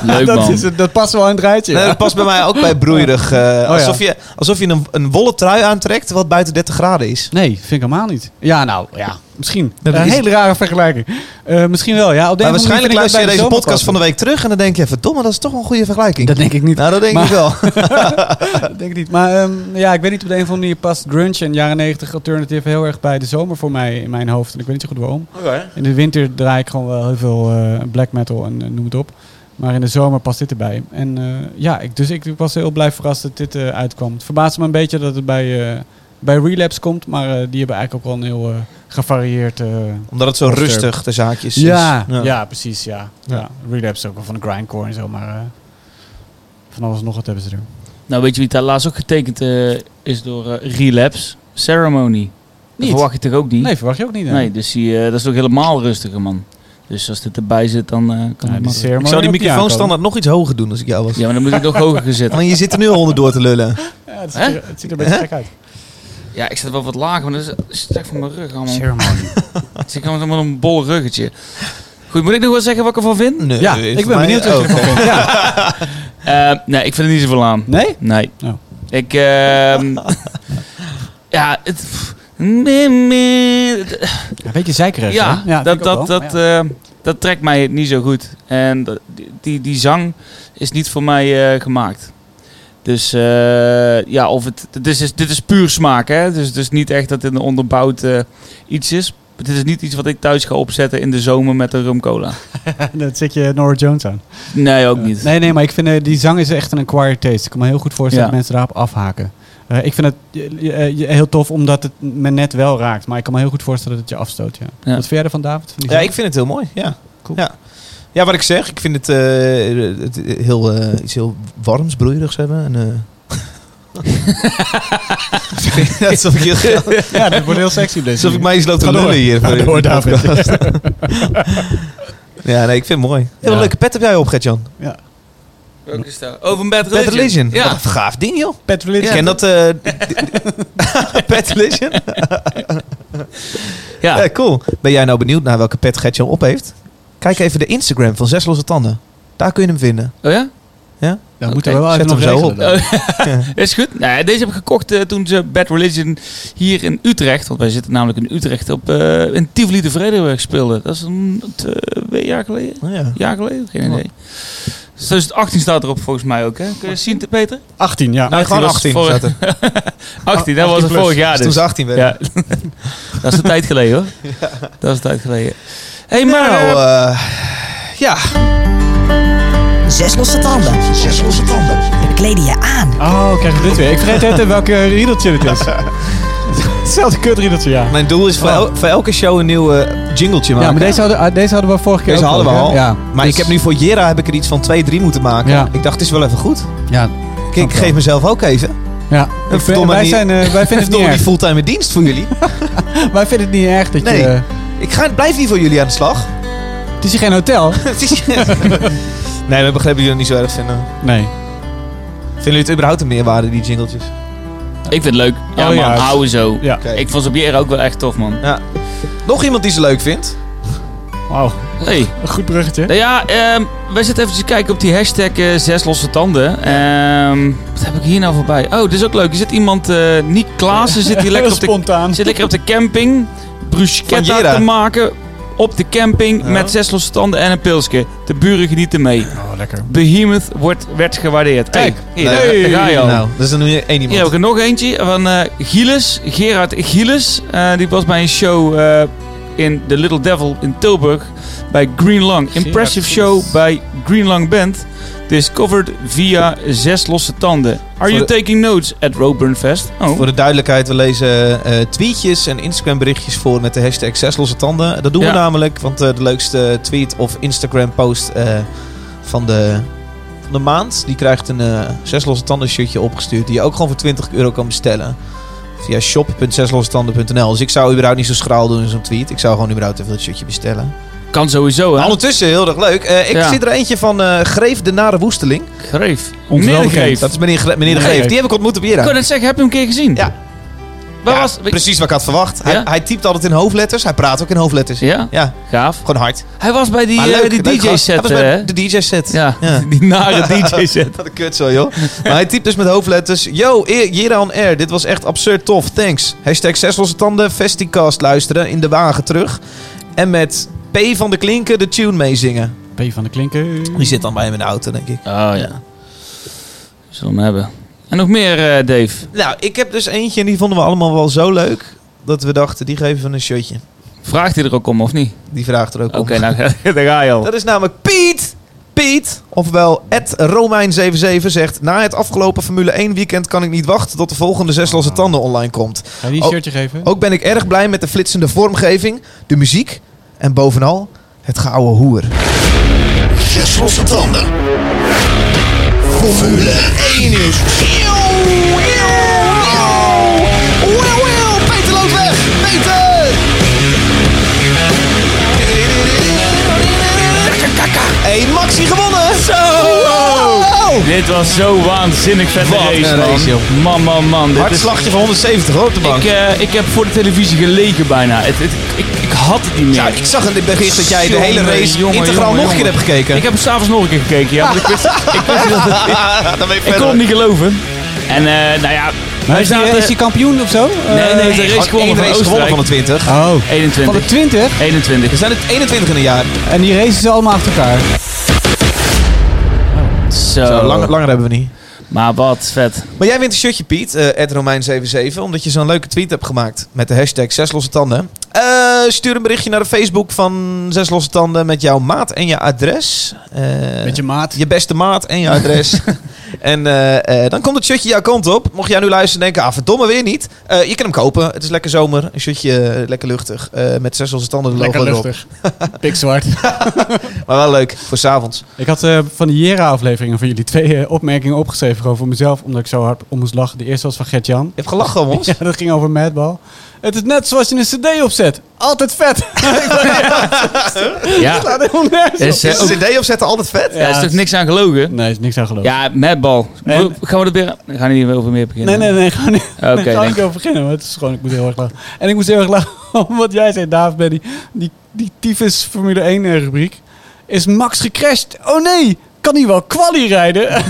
Speaker 3: Leuk
Speaker 4: dat,
Speaker 3: man.
Speaker 4: is, het- dat past wel in het rijtje.
Speaker 2: Nee,
Speaker 4: ja. Oh
Speaker 2: dat past bij mij ook bij broeierig. eh, alsof je, alsof je een, een wollen trui aantrekt wat buiten 30 graden is.
Speaker 4: Nee, vind ik helemaal niet. Ja, nou, ja, misschien.
Speaker 2: Dat
Speaker 4: een
Speaker 2: is-
Speaker 4: hele rare vergelijking. Eh, misschien wel, ja. Op de
Speaker 2: Maar
Speaker 4: een of andere
Speaker 2: waarschijnlijk
Speaker 4: manier vind ik dat
Speaker 2: luister je
Speaker 4: bij
Speaker 2: deze
Speaker 4: zomer
Speaker 2: podcast van de week terug en dan denk je, verdomme, dat is toch wel een goede vergelijking.
Speaker 4: Dat denk ik niet.
Speaker 2: nou, dat denk ik
Speaker 4: Maar-
Speaker 2: wel.
Speaker 4: Dat denk ik niet. Maar ehm, ja, ik weet niet, op de een of andere manier past grunge en jaren 90 alternative heel erg bij de zomer voor mij in mijn hoofd. En ik weet niet zo goed waarom. In de winter draai ik gewoon wel heel veel eh, black metal en eh, noem het op. Maar in de zomer past dit erbij. En eh, ja, ik, dus ik was heel blij verrast dat dit eh, uitkwam. Het verbaasde me een beetje dat het bij, eh, bij Relapse komt. Maar eh, die hebben eigenlijk ook wel een heel eh, gevarieerd... eh,
Speaker 2: Omdat het zo
Speaker 4: Of ter-
Speaker 2: rustig de zaakjes is.
Speaker 4: ja, ja. precies, ja.
Speaker 2: Ja.
Speaker 4: Ja. Relapse is ook wel van de grindcore en zo. Maar eh, van alles en nog wat hebben ze er.
Speaker 3: Nou, weet je wie daar laatst ook getekend eh, is door eh, Relapse? Ceremony. Dat
Speaker 4: Niet.
Speaker 3: verwacht je toch ook niet?
Speaker 4: Nee, verwacht je ook niet. hè?
Speaker 3: Nee, dus die, eh, dat is toch helemaal rustiger, man. Dus als dit erbij zit, dan eh, kan
Speaker 4: Ja,
Speaker 3: het
Speaker 4: die
Speaker 3: makkelijk.
Speaker 4: ceremonie
Speaker 2: Ik zou die
Speaker 4: op je
Speaker 2: microfoon
Speaker 4: aankomen.
Speaker 2: standaard nog iets hoger doen als ik jou was.
Speaker 3: Ja, maar dan moet ik nog hoger gaan zitten.
Speaker 2: Want je zit er nu al onderdoor te lullen.
Speaker 4: Ja, het, ziet er, het ziet er een beetje gek uit.
Speaker 3: Ja, ik zit wel wat lager, maar dat is slecht voor mijn rug allemaal.
Speaker 4: Ceremony.
Speaker 3: Dus ik kan met een bol ruggetje. Goed, moet ik nog wel zeggen wat ik ervan vind?
Speaker 2: Nee,
Speaker 4: Ja,
Speaker 2: voor
Speaker 4: ik ben
Speaker 2: mij-
Speaker 4: benieuwd wat je
Speaker 2: oh,
Speaker 4: ervan vindt. Ja.
Speaker 3: Eh, nee, ik vind er niet zoveel aan.
Speaker 4: Nee?
Speaker 3: Nee.
Speaker 4: Oh.
Speaker 3: Ik, ehm, ja, het... pff, meh, meh.
Speaker 4: Een beetje zeikerig,
Speaker 3: Ja,
Speaker 4: hè? vind
Speaker 3: dat,
Speaker 4: ik
Speaker 3: dat,
Speaker 4: ook wel.
Speaker 3: dat,
Speaker 4: Ja.
Speaker 3: eh, dat trekt mij niet zo goed. En dat- die, die, die zang is niet voor mij eh, gemaakt. Dus eh, ja, of het, dit, is, dit is puur smaak. Hè? Dus, dus niet echt dat dit een onderbouwd eh, iets is. Dit is niet iets wat ik thuis ga opzetten in de zomer met een rum cola.
Speaker 4: eh, dat zit je Norah Jones aan.
Speaker 3: Nee, ook niet.
Speaker 4: Nee, nee, maar ik vind eh, die zang is echt een acquired taste. Ik kan me heel goed voorstellen
Speaker 3: Ja.
Speaker 4: dat mensen daarop afhaken. Eh, ik vind het eh, eh, heel tof omdat het me net wel raakt. Maar ik kan me heel goed voorstellen dat het je afstoot. Ja.
Speaker 3: Ja.
Speaker 4: Wat vind jij ervan, David? Van die
Speaker 2: Ja,
Speaker 4: zang?
Speaker 2: ik vind het heel mooi. Ja.
Speaker 4: Cool.
Speaker 2: Ja. ja, wat ik zeg, ik vind het, eh, het heel, eh, iets heel warms, broeierigs hebben. En, eh, alsof, ik, heel-
Speaker 4: ja, dat wordt heel sexy op deze
Speaker 2: alsof ik
Speaker 4: manier.
Speaker 2: mij eens loop te
Speaker 4: Ga door.
Speaker 2: lullen hier.
Speaker 4: Ga door, David.
Speaker 2: podcast. ja, nee, ik vind het mooi. Heel
Speaker 4: Ja.
Speaker 2: leuke pet heb jij op, Gert-Jan.
Speaker 3: Welke is dat? Over een Bad
Speaker 2: Pet
Speaker 3: Religion.
Speaker 2: Religion. Wat
Speaker 3: Ja.
Speaker 2: een gaaf ding, joh.
Speaker 4: Pet
Speaker 2: Ik
Speaker 4: Religion.
Speaker 2: ken dat... eh Pet Religion?
Speaker 3: Ja.
Speaker 2: Eh, cool. Ben jij nou benieuwd naar welke pet Gert-Jan op heeft? Kijk even de Instagram van Zes Losse Tanden. Daar kun je hem vinden.
Speaker 3: Oh ja?
Speaker 4: Dan
Speaker 3: Oké,
Speaker 4: moeten we wel even
Speaker 2: zet
Speaker 4: nog
Speaker 2: hem zo
Speaker 4: regelen
Speaker 2: op.
Speaker 4: dan.
Speaker 3: Is goed. Nou, ja, deze heb ik gekocht eh, toen ze Bad Religion hier in Utrecht, want wij zitten namelijk in Utrecht, op, eh, in Tivoli de Vredenburg speelden. Dat is een twee jaar geleden?
Speaker 2: Oh, ja.
Speaker 3: Een jaar geleden? Geen idee. Dus 2018 staat erop volgens mij ook, hè? Kun je dat zien, Peter?
Speaker 4: 18, ja.
Speaker 2: Nou, gewoon 18
Speaker 3: 18
Speaker 2: was
Speaker 3: was
Speaker 2: het vorig-
Speaker 3: 18, dat was het vorig jaar
Speaker 2: toen
Speaker 3: dus.
Speaker 2: ze 18 werden.
Speaker 3: Ja. dat is een tijd geleden, hoor. Dat is een tijd geleden. hey, maar... eh,
Speaker 2: Nou, eh, ja.
Speaker 8: Zes losse tanden. Zes losse tanden. We kleden je aan.
Speaker 4: Oh, krijgen we dit weer. Ik vergeet net welke riedeltje het is. Hetzelfde kutriedeltje, ja.
Speaker 2: Mijn doel is voor, el- voor elke show een nieuw eh, jingletje maken.
Speaker 4: Oh. Ja, maar deze hadden, ah, deze hadden we vorige keer
Speaker 2: Deze
Speaker 4: ook
Speaker 2: hadden we
Speaker 4: ook, hè?
Speaker 2: al.
Speaker 4: Ja,
Speaker 2: maar
Speaker 4: dus-
Speaker 2: ik heb nu voor Jera heb ik er iets van twee, drie moeten maken.
Speaker 4: Ja.
Speaker 2: Ik dacht, het is wel even goed.
Speaker 4: Ja,
Speaker 2: Ik,
Speaker 4: Snap
Speaker 2: ik
Speaker 4: wel.
Speaker 2: geef mezelf ook even.
Speaker 4: ja. Ik ben-
Speaker 2: verdomme
Speaker 4: wij,
Speaker 2: niet-
Speaker 4: zijn, eh, wij vinden het niet
Speaker 2: Verdomme, die
Speaker 4: erg.
Speaker 2: fulltime dienst voor jullie.
Speaker 4: Wij vinden het niet erg dat
Speaker 2: Nee.
Speaker 4: je... eh,
Speaker 2: ik ga, blijf niet voor jullie aan de slag.
Speaker 4: het is hier geen hotel.
Speaker 2: Het is- nee, we begrijpen jullie het niet zo erg vinden.
Speaker 4: Nee.
Speaker 2: Vinden jullie het überhaupt een meerwaarde, die jingletjes?
Speaker 3: Ik vind het leuk. Ja,
Speaker 4: Oh,
Speaker 3: man,
Speaker 4: ja.
Speaker 3: houden zo.
Speaker 4: Ja.
Speaker 2: Oké.
Speaker 3: Ik vond ze op Jera ook wel echt tof, man.
Speaker 2: Nog iemand die ze leuk vindt?
Speaker 4: Wauw,
Speaker 3: Hey.
Speaker 4: een goed bruggetje.
Speaker 3: Nou ja, ehm, wij zitten even te kijken op die hashtag eh, zes losse tanden. Ehm, wat heb ik hier nou voorbij? Oh, dit is ook leuk. Er zit iemand, eh Niek Klaassen, zit hier lekker
Speaker 4: Heel
Speaker 3: op de,
Speaker 4: spontaan.
Speaker 3: zit lekker op de camping.
Speaker 2: Van
Speaker 3: Bruschetta
Speaker 2: Jera.
Speaker 3: te maken op de camping
Speaker 2: Ja.
Speaker 3: met zes losse tanden en een pilsje. De buren genieten mee.
Speaker 4: Oh, lekker.
Speaker 3: Behemoth wordt, werd gewaardeerd. Kijk, hier,
Speaker 2: Nee.
Speaker 3: daar, daar ga je al.
Speaker 2: Nou, dat is er nu één
Speaker 3: Hier
Speaker 2: iemand.
Speaker 3: heb ik er nog eentje van eh Gielis, Gerard Gielis. Eh, die was bij een show eh, in The Little Devil in Tilburg bij Green Lung. Impressive show bij Green Lung Band. Discovered via Zes Losse Tanden. Are you
Speaker 2: Voor de-
Speaker 3: taking notes at Roadburn Fest? Oh,
Speaker 2: Voor de duidelijkheid, we lezen eh, tweetjes en Instagram berichtjes voor met de hashtag zes losse tanden. Dat doen
Speaker 3: Ja.
Speaker 2: we namelijk, want eh, de leukste tweet of Instagram post eh, van, de, van de maand, die krijgt een eh zes losse tanden shirtje opgestuurd, die je ook gewoon voor 20 euro kan bestellen. Via shop.zeslossetanden.nl. Dus ik zou überhaupt niet zo schraal doen in zo'n tweet. Ik zou gewoon überhaupt even dat shirtje bestellen.
Speaker 3: kan sowieso hè?
Speaker 2: Maar ondertussen, heel erg leuk. Eh, ik
Speaker 3: Ja.
Speaker 2: zit er eentje van eh, Greef de Nare Woesteling.
Speaker 3: Greef.
Speaker 4: Ons wel
Speaker 3: Meneer de
Speaker 4: bekend.
Speaker 3: Greef.
Speaker 2: Dat is meneer, Gre- meneer de
Speaker 4: Nee.
Speaker 2: Greef. Die heb ik ontmoet op Jera.
Speaker 3: Ik kan het zeggen, heb je hem een keer gezien?
Speaker 2: Ja.
Speaker 3: Waar
Speaker 2: Ja,
Speaker 3: was...
Speaker 2: Precies wat ik had verwacht. Hij,
Speaker 3: Ja?
Speaker 2: hij typt altijd in hoofdletters. Hij praat ook in hoofdletters.
Speaker 3: Ja?
Speaker 2: Ja,
Speaker 3: Gaaf.
Speaker 2: gewoon hard.
Speaker 3: Hij was bij die,
Speaker 2: Maar
Speaker 3: eh,
Speaker 2: leuk,
Speaker 3: die
Speaker 2: leuk gast. Hij
Speaker 3: DJ-set,
Speaker 2: was
Speaker 3: hè?
Speaker 2: bij De DJ-set.
Speaker 3: Ja,
Speaker 2: Ja.
Speaker 3: die nare DJ-set.
Speaker 2: Wat een kut zo, joh. maar hij typt dus met hoofdletters. Yo, I- Jera on air. Dit was echt absurd tof. Thanks. Hashtag zes losse tanden. Festicast luisteren. In de wagen terug. En met P van de Klinken de tune meezingen.
Speaker 4: P van de Klinken.
Speaker 2: Die zit dan bij hem in de auto, denk ik.
Speaker 3: Oh ja. Zullen we hem hebben. En nog meer, eh, Dave.
Speaker 2: Nou, ik heb dus eentje en die vonden we allemaal wel zo leuk. Dat we dachten, die geven we een shirtje.
Speaker 3: Vraagt hij er ook om of niet?
Speaker 2: Die vraagt er ook
Speaker 3: Oké,
Speaker 2: om.
Speaker 3: nou, daar ga je al.
Speaker 2: Dat is namelijk Piet. Piet, ofwel Romein77 zegt... Na het afgelopen Formule 1 weekend kan ik niet wachten tot de volgende Zes Losse Tanden online komt.
Speaker 4: Ga je die een
Speaker 2: Oh.
Speaker 4: shirtje geven?
Speaker 2: Ook ben ik erg blij met de flitsende vormgeving, de muziek en bovenal het gouden hoer.
Speaker 6: Zes losse tanden. Formule 1 is. Peter loopt weg. Peter!
Speaker 2: Hey, Maxi gewonnen! Zo!
Speaker 3: Dit was zo waanzinnig vette
Speaker 2: Wat een
Speaker 3: race,
Speaker 2: race,
Speaker 3: man. Man, man, man. Dit is...
Speaker 2: Hartslagje van 170 hoor, op de bank.
Speaker 3: ik, eh, ik heb voor de televisie gelegen bijna. Het, het, ik, ik had het niet meer.
Speaker 2: ja, ik zag in dit bericht dat jij de
Speaker 3: Jongen,
Speaker 2: hele race
Speaker 3: jongen,
Speaker 2: integraal
Speaker 3: jongen,
Speaker 2: nog een keer
Speaker 3: jongen.
Speaker 2: hebt gekeken.
Speaker 3: Ik heb hem s'avonds nog een keer gekeken, ja. Want ik, wist, ik, wist dat-
Speaker 2: dan ben je
Speaker 3: ik kon het niet geloven. En eh, nou ja...
Speaker 4: Maar is, die, is die kampioen of zo?
Speaker 3: Nee, nee, de race
Speaker 2: Gewoon
Speaker 3: gewonnen
Speaker 2: één
Speaker 3: van
Speaker 2: race gewonnen
Speaker 3: Oostenrijk.
Speaker 2: van de 20.
Speaker 4: Oh. Van de
Speaker 3: 21.
Speaker 4: 20?
Speaker 3: 21.
Speaker 2: Er zijn er 21 in een jaar.
Speaker 4: En die racen ze allemaal achter elkaar.
Speaker 2: Zo,
Speaker 3: Zo.
Speaker 2: langer, langer hebben we niet.
Speaker 3: Maar wat vet.
Speaker 2: Maar jij wint een shirtje, Piet, eh Romein77, omdat je zo'n leuke tweet hebt gemaakt met de hashtag Zes Losse Tanden. Eh, stuur een berichtje naar de Facebook van Zes Losse Tanden met jouw maat en je adres. Eh,
Speaker 4: Met je maat.
Speaker 2: je beste maat en je adres. en eh, eh, dan komt het shirtje jouw kant op. Mocht jij nu luisteren en denken, ah verdomme, weer niet. Eh, je kan hem kopen. Het is lekker zomer. Een shirtje, eh, lekker luchtig. eh, met Zes Losse Tanden de logo erop.
Speaker 4: Pikzwart.
Speaker 2: Maar wel leuk, voor 's avonds.
Speaker 4: Ik had eh, van de Jera-afleveringen van jullie twee eh, opmerkingen opgeschreven gewoon voor mezelf, omdat ik zo hard om moest lachen. De eerste was van Gert-Jan.
Speaker 2: Je hebt gelachen, man.
Speaker 4: Ja, dat ging over Madball. Het is net zoals je een cd opzet. Altijd vet.
Speaker 3: Ja.
Speaker 4: Laat helemaal nergens op.
Speaker 3: Is, eh,
Speaker 2: Is
Speaker 3: ook-
Speaker 2: het idee opzetten altijd vet?
Speaker 3: ja, is toch niks aan gelogen?
Speaker 4: Nee, is niks aan geloof.
Speaker 3: Ja, madball.
Speaker 4: Nee.
Speaker 3: Mo- Gaan we er weer... We gaan er niet over meer
Speaker 4: Nee,
Speaker 3: beginnen.
Speaker 4: nee, nee, gewoon niet.
Speaker 3: Oké,
Speaker 4: Daar kan
Speaker 3: denk
Speaker 4: ik over beginnen, maar het is gewoon, ik moet heel erg lachen. En ik moest heel erg lachen om wat jij zei, David, bij die, die, die tyfus Formule 1 eh, rubriek. Is Max gecrashed? Oh nee, kan hij wel quali rijden?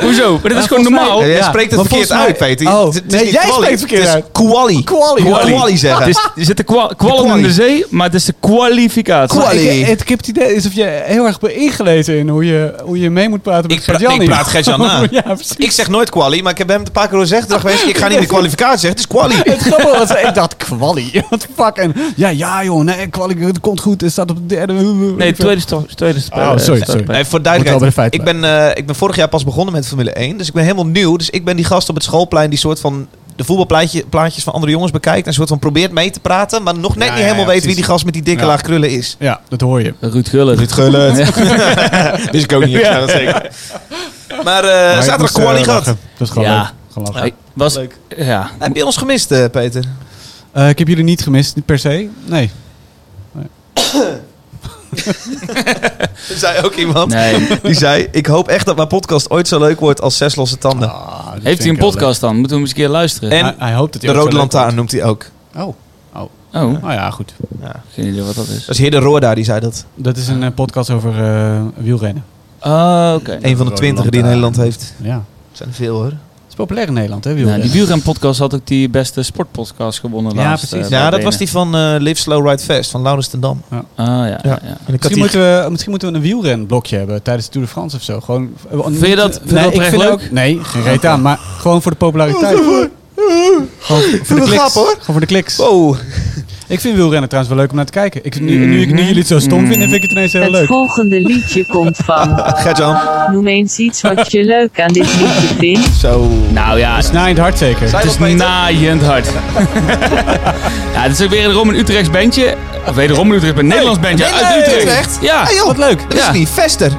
Speaker 3: Hoezo? Maar dat is gewoon
Speaker 4: volgens mij-
Speaker 3: normaal.
Speaker 2: Ja, jij
Speaker 4: Ja,
Speaker 2: spreekt het
Speaker 4: maar
Speaker 2: verkeerd
Speaker 4: volgens mij-
Speaker 2: uit, Peter.
Speaker 4: Oh,
Speaker 2: Het is- het is
Speaker 4: nee,
Speaker 2: niet
Speaker 4: jij
Speaker 2: kwali.
Speaker 4: spreekt het verkeerd
Speaker 2: Het is
Speaker 4: uit.
Speaker 2: Kwali.
Speaker 4: Quali.
Speaker 2: Kwali
Speaker 3: Het
Speaker 2: zeggen.
Speaker 3: is, er zitten kwa- kwallen in
Speaker 2: kwali.
Speaker 3: de zee, maar het is de kwalificatie.
Speaker 2: Kwali.
Speaker 4: Ik, ik, ik heb het idee alsof je heel erg bent ingelezen in hoe je, hoe je mee moet praten met
Speaker 2: Ik pra-
Speaker 4: Gert-Jan
Speaker 2: ik
Speaker 4: hier.
Speaker 2: praat Gert-Jan na.
Speaker 4: ja, precies.
Speaker 2: Ik zeg nooit quali, maar ik heb hem een paar keer gezegd. Ik Dacht geweest, ik ga niet meer kwalificatie zeggen, het is quali.
Speaker 4: Het grappige was, ik dacht, kwali. Wat fuck. En ja, ja joh, nee, kwali, het komt goed. Het staat op de derde.
Speaker 3: Nee, tweede stap. Tweede stap.
Speaker 4: Oh, sorry, sorry.
Speaker 2: Nee, voor
Speaker 4: Moet wel bij de
Speaker 2: duidelijkheid.
Speaker 4: feiten
Speaker 2: Ik ben, eh, ik ben vorig jaar pas begonnen met Formule 1, dus ik ben helemaal nieuw. Dus ik ben die gast op het schoolplein die soort van de voetbalplaatjes van andere jongens bekijkt. En soort van probeert mee te praten. Maar nog net niet
Speaker 4: Ja, ja,
Speaker 2: helemaal
Speaker 4: ja,
Speaker 2: weet wie
Speaker 4: precies.
Speaker 2: die gast met die dikke
Speaker 4: Ja.
Speaker 2: laag krullen is.
Speaker 4: Ja, dat hoor
Speaker 2: Eh,
Speaker 4: je.
Speaker 3: Ruud Gullit.
Speaker 2: Dit gullet.
Speaker 1: Dus ik ook niet. Ja, dat zeker.
Speaker 2: Maar eh,
Speaker 4: Maar ik
Speaker 2: zaterdag
Speaker 4: moest, eh,
Speaker 2: kwalie
Speaker 4: lachen.
Speaker 2: gehad.
Speaker 4: Dat is gewoon
Speaker 3: Ja.
Speaker 4: leuk. Gewoon lachen.
Speaker 3: Ik was,
Speaker 2: Leuk.
Speaker 3: Ja.
Speaker 2: Heb je ons gemist, eh, Peter?
Speaker 4: Eh, ik heb jullie niet gemist, niet per se. Nee.
Speaker 2: Er zei ook iemand.
Speaker 3: Nee.
Speaker 2: Die zei, ik hoop echt dat mijn podcast ooit zo leuk wordt als Zes Losse Tanden.
Speaker 4: Ah,
Speaker 3: Heeft hij een podcast dan? Moeten we hem eens een keer luisteren?
Speaker 2: En
Speaker 4: hij, hij hoopt dat
Speaker 2: de
Speaker 4: hij ook
Speaker 2: Rode
Speaker 4: zo leuk
Speaker 2: Lantaarn noemt hij ook.
Speaker 4: wordt. Oh. Oh.
Speaker 3: Oh,
Speaker 4: Nou ja, goed.
Speaker 3: geen idee wat dat is.
Speaker 2: Dat is Heer de Roorda, die zei dat.
Speaker 4: Dat is een eh, podcast over eh, wielrennen.
Speaker 3: Oh, oké.
Speaker 2: Een van de
Speaker 4: Rode
Speaker 2: twintigen die
Speaker 4: Lantaarn.
Speaker 2: Nederland heeft.
Speaker 4: Ja.
Speaker 2: Dat zijn er veel hoor.
Speaker 4: Het is populair in Nederland, hè,
Speaker 3: Nou, die
Speaker 4: wielrennen.
Speaker 3: wielrenpodcast had ook die beste sportpodcast gewonnen
Speaker 4: Ja,
Speaker 3: laatst.
Speaker 4: precies.
Speaker 3: eh, bij
Speaker 2: Ja, dat
Speaker 3: Benen.
Speaker 2: was die van eh, Live Slow Ride Fast van Laurens ten Dam.
Speaker 3: Ah, ja, ja. ja.
Speaker 2: En ik had
Speaker 4: Misschien
Speaker 2: die-
Speaker 4: moeten, we, misschien moeten we een wielrenblokje hebben tijdens de Tour de France of zo. Gewoon,
Speaker 3: Vind je dat- vind je dat echt leuk?
Speaker 4: ook, Nee, geen reet aan, maar gewoon voor de populariteit. Gewoon voor de
Speaker 2: een
Speaker 4: kliks.
Speaker 2: grap, hoor.
Speaker 4: Gewoon voor de kliks.
Speaker 2: Wow.
Speaker 4: Ik vind wielrennen trouwens wel leuk om naar te kijken. Ik, nu, nu, ik- nu
Speaker 3: Mhm.
Speaker 4: jullie het zo stom vinden, vind ik het ineens heel
Speaker 7: Het
Speaker 4: leuk.
Speaker 7: volgende liedje komt van.
Speaker 2: Gert-Jan.
Speaker 7: Noem eens iets wat je leuk aan dit liedje vindt.
Speaker 2: Zo.
Speaker 3: Nou ja,
Speaker 4: Na in het hart zeker.
Speaker 2: Zij-
Speaker 3: Het is
Speaker 2: Peter?
Speaker 3: naaiend hard. ja, het is ook wederom een Utrechts bandje. Of wederom een Utrechts, een Nederlands bandje
Speaker 2: nee,
Speaker 3: uit
Speaker 2: nee, Ah,
Speaker 3: Utrecht.
Speaker 2: Utrecht?
Speaker 3: Ja.
Speaker 2: Hey, joh,
Speaker 4: Wat leuk.
Speaker 2: Dat is
Speaker 3: Ja.
Speaker 2: niet. Vester.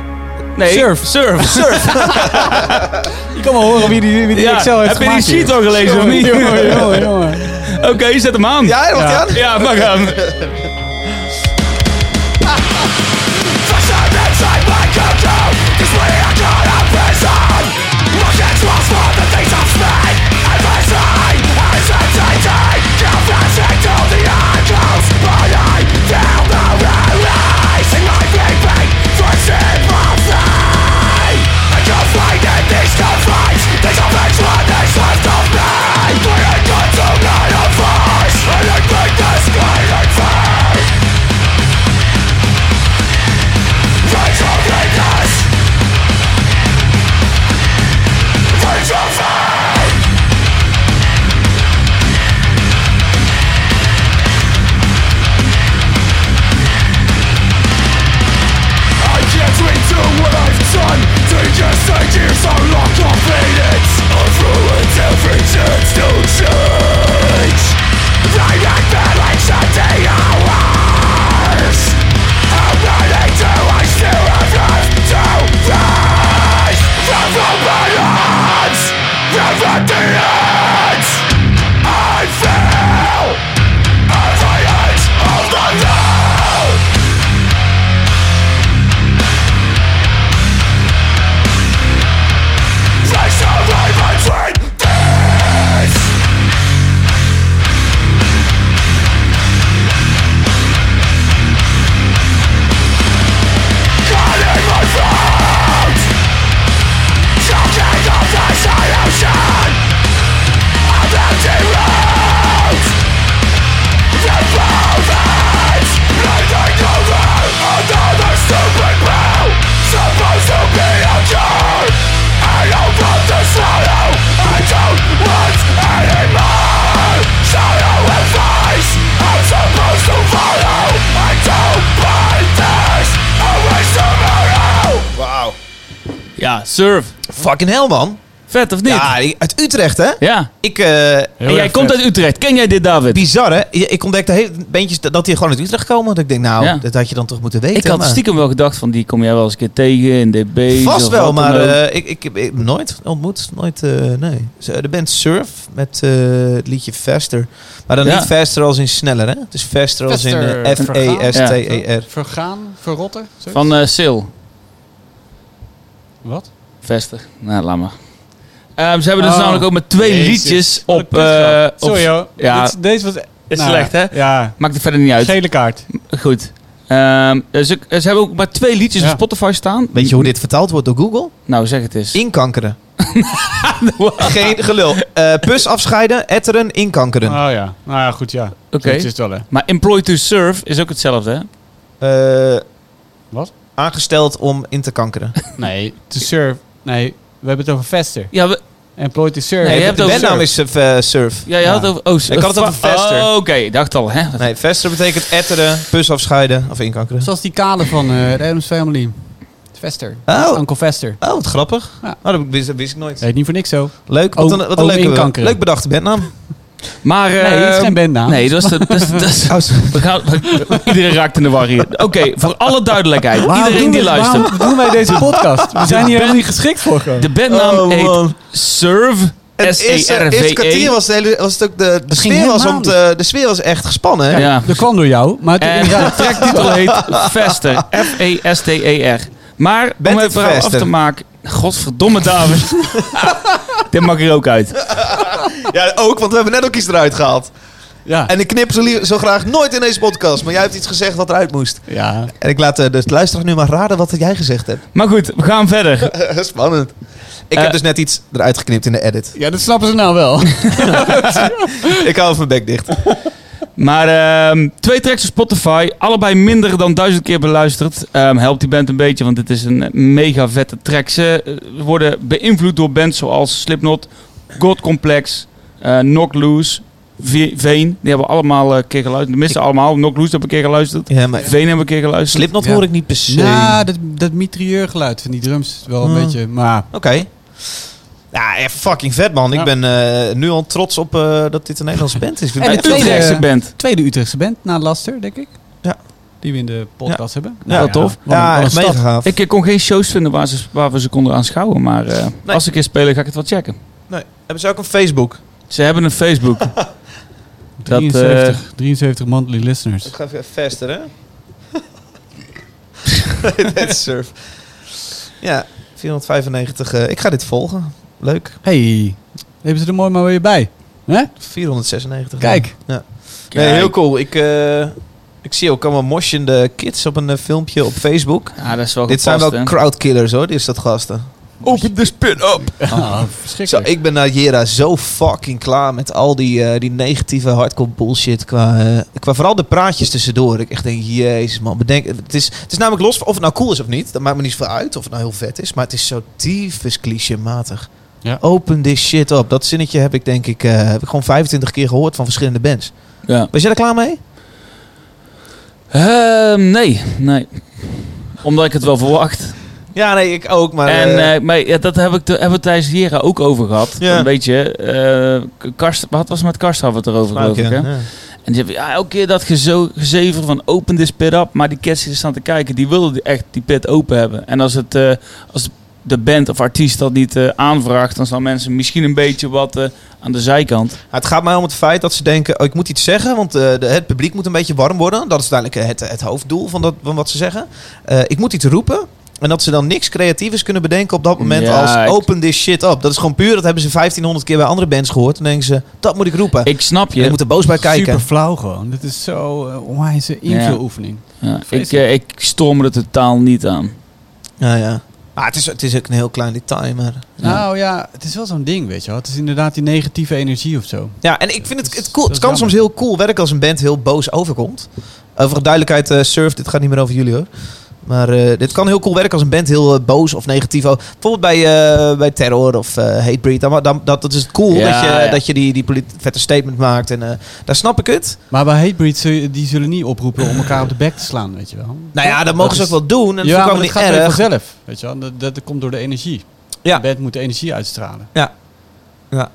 Speaker 3: nee.
Speaker 4: surf.
Speaker 3: Surf.
Speaker 4: Je kan wel horen wie die, wie die
Speaker 3: Ja.
Speaker 4: Excel heeft
Speaker 3: Heb je die
Speaker 4: gemaakt
Speaker 3: sheet
Speaker 4: hier.
Speaker 3: al gelezen of niet?
Speaker 4: Jongen, jongen, jongen.
Speaker 3: Oké, zet hem aan.
Speaker 2: Ja, dat
Speaker 3: ja.
Speaker 2: aan.
Speaker 3: Ja, pak aan. Ja, surf.
Speaker 2: Fucking hell, man.
Speaker 3: Vet of niet?
Speaker 2: Ja, uit Utrecht, hè?
Speaker 3: Ja.
Speaker 2: Ik, eh,
Speaker 3: En jij komt uit Utrecht. Ken jij dit, David?
Speaker 2: bizar, hè? Ik ontdekte heel bandjes dat dat die gewoon uit Utrecht komen. Dat ik denk, nou,
Speaker 3: Ja.
Speaker 2: dat had je dan toch moeten weten.
Speaker 3: Ik had
Speaker 2: maar-
Speaker 3: stiekem wel gedacht van die kom jij wel eens een keer tegen in DB.
Speaker 2: Vast
Speaker 3: of
Speaker 2: wel,
Speaker 3: wat dan
Speaker 2: maar
Speaker 3: ook.
Speaker 2: eh, ik, ik, ik heb nooit ontmoet. Nooit, eh, nee. Ze- De band Surf met eh, het liedje Faster. Maar dan
Speaker 3: Ja.
Speaker 2: niet Faster als in sneller, hè? Het is Faster,
Speaker 4: Faster.
Speaker 2: als in eh, F-E-S-T-E-R.
Speaker 4: Vergaan, verrotten? zoiets?
Speaker 3: Van eh Sil.
Speaker 4: Wat?
Speaker 3: Vester. Nou, laat maar. Ehm, ze hebben dus
Speaker 2: Ah.
Speaker 4: Oh.
Speaker 3: namelijk ook met twee
Speaker 4: Jezus.
Speaker 3: liedjes op...
Speaker 4: Wat een
Speaker 3: eh,
Speaker 4: kutgrap.
Speaker 3: op-
Speaker 4: Sorry hoor.
Speaker 3: ja.
Speaker 4: Dit- deze was... Nou
Speaker 3: Is slecht, hè?
Speaker 4: Ja.
Speaker 3: Maakt het verder niet uit.
Speaker 4: Gele kaart.
Speaker 3: Goed. Ehm, ze, ze hebben ook maar twee liedjes
Speaker 4: Ja.
Speaker 3: op Spotify staan.
Speaker 2: Weet je hoe dit vertaald wordt door Google?
Speaker 3: Nou, zeg het eens.
Speaker 2: Inkankeren. Geen gelul. Eh, pus afscheiden, etteren, inkankeren.
Speaker 3: Ah.
Speaker 4: Oh ja. Nou ja, goed, ja.
Speaker 3: Oké.
Speaker 4: Zoiets is het wel, hè?
Speaker 3: Maar Employ to Serve is ook hetzelfde, hè?
Speaker 2: Eh,
Speaker 4: Wat?
Speaker 2: Aangesteld om in te kankeren.
Speaker 4: Nee. To serve. Nee, we hebben het over Vester.
Speaker 3: Ja, we-
Speaker 4: Employed to serve.
Speaker 3: Nee, je
Speaker 2: Nee,
Speaker 3: hebt
Speaker 2: de
Speaker 3: over
Speaker 2: bandnaam is
Speaker 3: Surf.
Speaker 2: eh, Surf.
Speaker 3: ja, je
Speaker 4: Ja.
Speaker 3: had het over... Oh,
Speaker 2: Ik had het over
Speaker 3: fa-
Speaker 2: Vester.
Speaker 3: Oh, oké. Dacht al, hè?
Speaker 2: Nee, Faster betekent etteren, pus afscheiden of inkankeren.
Speaker 4: Zoals die kale van eh de Adams Family. Vester.
Speaker 2: Oh,
Speaker 4: Uncle Vester.
Speaker 2: oh wat grappig.
Speaker 4: Ja.
Speaker 2: Oh, dat wist, dat wist ik nooit.
Speaker 4: Heet niet voor niks zo.
Speaker 2: Leuk, wat
Speaker 4: Oom-
Speaker 2: een, wat een
Speaker 4: oom
Speaker 2: leuke,
Speaker 4: inkankeren.
Speaker 2: leuk bedachte bandnaam.
Speaker 3: Maar,
Speaker 4: Nee, het is
Speaker 3: ehm,
Speaker 4: geen bandnaam.
Speaker 3: Nee, dat is de. Dat is, dat is-
Speaker 2: Oh, sorry.
Speaker 3: we gaan, we- iedereen raakt in de war hier. Oké, voor alle duidelijkheid. iedereen die luistert.
Speaker 4: Waarom doen wij deze podcast? We zijn hier helemaal niet geschikt voor gewoon.
Speaker 3: De bandnaam
Speaker 2: Oh, man.
Speaker 3: heet Serve. E
Speaker 2: Het eerste, eerste kwartier
Speaker 3: S-E-R-V-E.
Speaker 2: was, de hele, was het ook de, de,
Speaker 4: ging
Speaker 2: sfeer was om
Speaker 4: helemaal
Speaker 2: te, de sfeer was echt gespannen. hè?
Speaker 3: Ja.
Speaker 4: Dat kwam door jou, maar toen
Speaker 3: En de tracktitel heet E Vester. F-E-S-T-E-R. Maar
Speaker 2: Bent
Speaker 3: om
Speaker 2: het
Speaker 3: het verhaal af
Speaker 2: Vester?
Speaker 3: te maken. Godverdomme, David. Dit mag er ook uit.
Speaker 2: Ja, ook, want we hebben net ook iets eruit gehaald.
Speaker 4: Ja.
Speaker 2: En ik knip zo, lie- zo graag nooit in deze podcast, maar jij hebt iets gezegd wat eruit moest.
Speaker 4: ja.
Speaker 2: En ik laat eh, de luisteraar nu maar raden wat jij gezegd hebt.
Speaker 3: Maar goed, we gaan verder.
Speaker 2: Spannend. Ik
Speaker 3: Eh.
Speaker 2: heb dus net iets eruit geknipt in de edit.
Speaker 4: ja, dat snappen ze nou wel.
Speaker 2: Ik hou even mijn bek dicht.
Speaker 3: Maar ehm, twee tracks op Spotify, allebei minder dan duizend keer beluisterd. Ehm, helpt die band een beetje, want dit is een mega vette track. Ze eh, worden beïnvloed door bands zoals Slipknot, God Complex, eh Knock Loose, Ve- Veen. Die hebben allemaal eh, een keer geluisterd. De meeste allemaal. Knock Loose heb ik een keer geluisterd.
Speaker 2: Ja, maar
Speaker 3: Veen hebben we een keer geluisterd.
Speaker 2: Slipknot
Speaker 4: Ja. Nou,
Speaker 2: hoor ik niet per se.
Speaker 4: Ja, dat, dat mitrailleurgeluid van die drums wel een
Speaker 2: Hmm.
Speaker 4: beetje, maar...
Speaker 2: Oké. Ja, echt fucking vet man. Ik
Speaker 4: Ja.
Speaker 2: ben eh, nu al trots op eh, dat dit een Nederlandse band is. Ik vind
Speaker 4: En
Speaker 2: het
Speaker 3: Een
Speaker 4: de tweede-
Speaker 3: Utrechtse band.
Speaker 4: Tweede Utrechtse band na Laster, denk ik.
Speaker 2: Ja.
Speaker 4: Die we in de podcast hebben. Nou
Speaker 2: Ja,
Speaker 3: tof.
Speaker 4: Wat een-
Speaker 2: ja,
Speaker 4: wat een
Speaker 2: echt
Speaker 4: stad.
Speaker 2: mega gaaf.
Speaker 3: Ik eh, kon geen shows vinden waar, ze, waar we ze konden aanschouwen. Maar eh, als ze een keer spelen, ga ik het wel checken.
Speaker 2: Hebben ze ook een Facebook?
Speaker 3: Ze hebben een Facebook. Dat, eh,
Speaker 4: 73, 73 monthly listeners.
Speaker 2: Ik ga even vester, hè? Dit is surf. Ja, 495. eh, ik ga dit volgen. Leuk.
Speaker 4: Hey, hebben ze er mooi maar weer bij. Hè?
Speaker 2: 496.
Speaker 4: Kijk.
Speaker 2: Nee, heel cool. Ik, eh, ik zie ook allemaal moshende kids op een eh, filmpje op Facebook.
Speaker 3: Ja, Ah, dat is wel
Speaker 2: Dit zijn
Speaker 3: gepast,
Speaker 2: wel
Speaker 3: hè.
Speaker 2: crowdkillers hoor, dit is dat gasten.
Speaker 3: Open this pit up.
Speaker 4: Ah,
Speaker 2: Zo,
Speaker 4: verschrikkelijk.
Speaker 2: ik ben na Jera zo fucking klaar met al die, eh, die negatieve hardcore bullshit. Qua, eh, qua vooral de praatjes tussendoor. Ik echt denk, jezus man, bedenk. Het is, het is namelijk los van of het nou cool is of niet. Dat maakt me niet veel uit of het nou heel vet is. Maar het is zo tyfus clichématig.
Speaker 4: Ja.
Speaker 2: Open this shit up. Dat zinnetje heb ik denk ik, eh, heb ik gewoon 25 keer gehoord van verschillende bands.
Speaker 3: Ja.
Speaker 2: Ben jij er klaar mee?
Speaker 3: Ehm, nee, nee. Omdat ik het wel verwacht.
Speaker 2: Ja, nee, ik ook. Maar,
Speaker 3: en
Speaker 2: eh,
Speaker 3: eh, maar, ja, dat heb ik te, hebben we tijdens Jera ook over gehad.
Speaker 2: Ja.
Speaker 3: Dan Weet je, eh, Karst, wat was het met Karst hadden we het erover
Speaker 2: nou,
Speaker 3: geloof ik,
Speaker 2: ja,
Speaker 3: hè?
Speaker 2: ja.
Speaker 3: En die hebben ja, elke keer dat gezo- gezever van open this pit up. Maar die kids die er staan te kijken, die wilden die- echt die pit open hebben. En als, het, eh, als de band of artiest dat niet eh, aanvraagt, dan staan mensen misschien een beetje wat eh, aan de zijkant.
Speaker 2: Nou, Het gaat mij om het feit dat ze denken, oh, ik moet iets zeggen, want eh, de, het publiek moet een beetje warm worden. Dat is uiteindelijk eh, het, het hoofddoel van, dat, van wat ze zeggen. Eh, ik moet iets roepen. En dat ze dan niks creatiefs kunnen bedenken op dat moment
Speaker 3: Ja, ik-
Speaker 2: als open this shit up. Dat is gewoon puur, dat hebben ze 1500 keer bij andere bands gehoord. En denken ze, dat moet ik roepen.
Speaker 3: Ik snap
Speaker 2: en
Speaker 3: je.
Speaker 2: ik moet er boos bij kijken.
Speaker 4: Super flauw gewoon. Dit is zo eh, onwijze invuloefening.
Speaker 3: Ja, ik,
Speaker 4: Vreselijk.
Speaker 3: eh, ik storm er totaal niet aan.
Speaker 2: Ja, ja. Ah, het, is, het is ook een heel klein detail, maar...
Speaker 3: Ja.
Speaker 4: Nou ja, het is wel zo'n ding, weet je wel. Het is inderdaad die negatieve energie of zo.
Speaker 2: Ja, en ik vind het,
Speaker 4: is-
Speaker 2: het cool.
Speaker 4: dat
Speaker 2: Het
Speaker 4: is
Speaker 2: kan
Speaker 4: jammer.
Speaker 2: soms heel cool werken als een band heel boos overkomt. Over duidelijkheid, eh, Surf, dit gaat niet meer over jullie hoor. Maar eh, dit kan heel cool werken als een band heel eh, boos of negatief. o- Bijvoorbeeld bij, eh, bij Terror of eh, Hatebreed. Dan, dan, dat, dat is het cool
Speaker 3: Ja,
Speaker 2: dat je,
Speaker 3: ja.
Speaker 2: dat je die, die polit- vette statement maakt. En eh, daar snap ik het.
Speaker 4: Maar bij Hatebreed, zul je- die zullen niet oproepen om elkaar op de bek te slaan, weet je wel.
Speaker 2: Nou ja, dat mogen ze
Speaker 4: is-
Speaker 2: ook wel doen. En
Speaker 4: ja,
Speaker 2: dat
Speaker 4: maar
Speaker 2: vind ik ook
Speaker 4: dat gaat
Speaker 2: niet
Speaker 4: weer
Speaker 2: erg.
Speaker 4: vanzelf, weet je wel. Dat, dat komt door de energie.
Speaker 2: Ja.
Speaker 4: De band moet de energie uitstralen.
Speaker 2: Ja. Ja.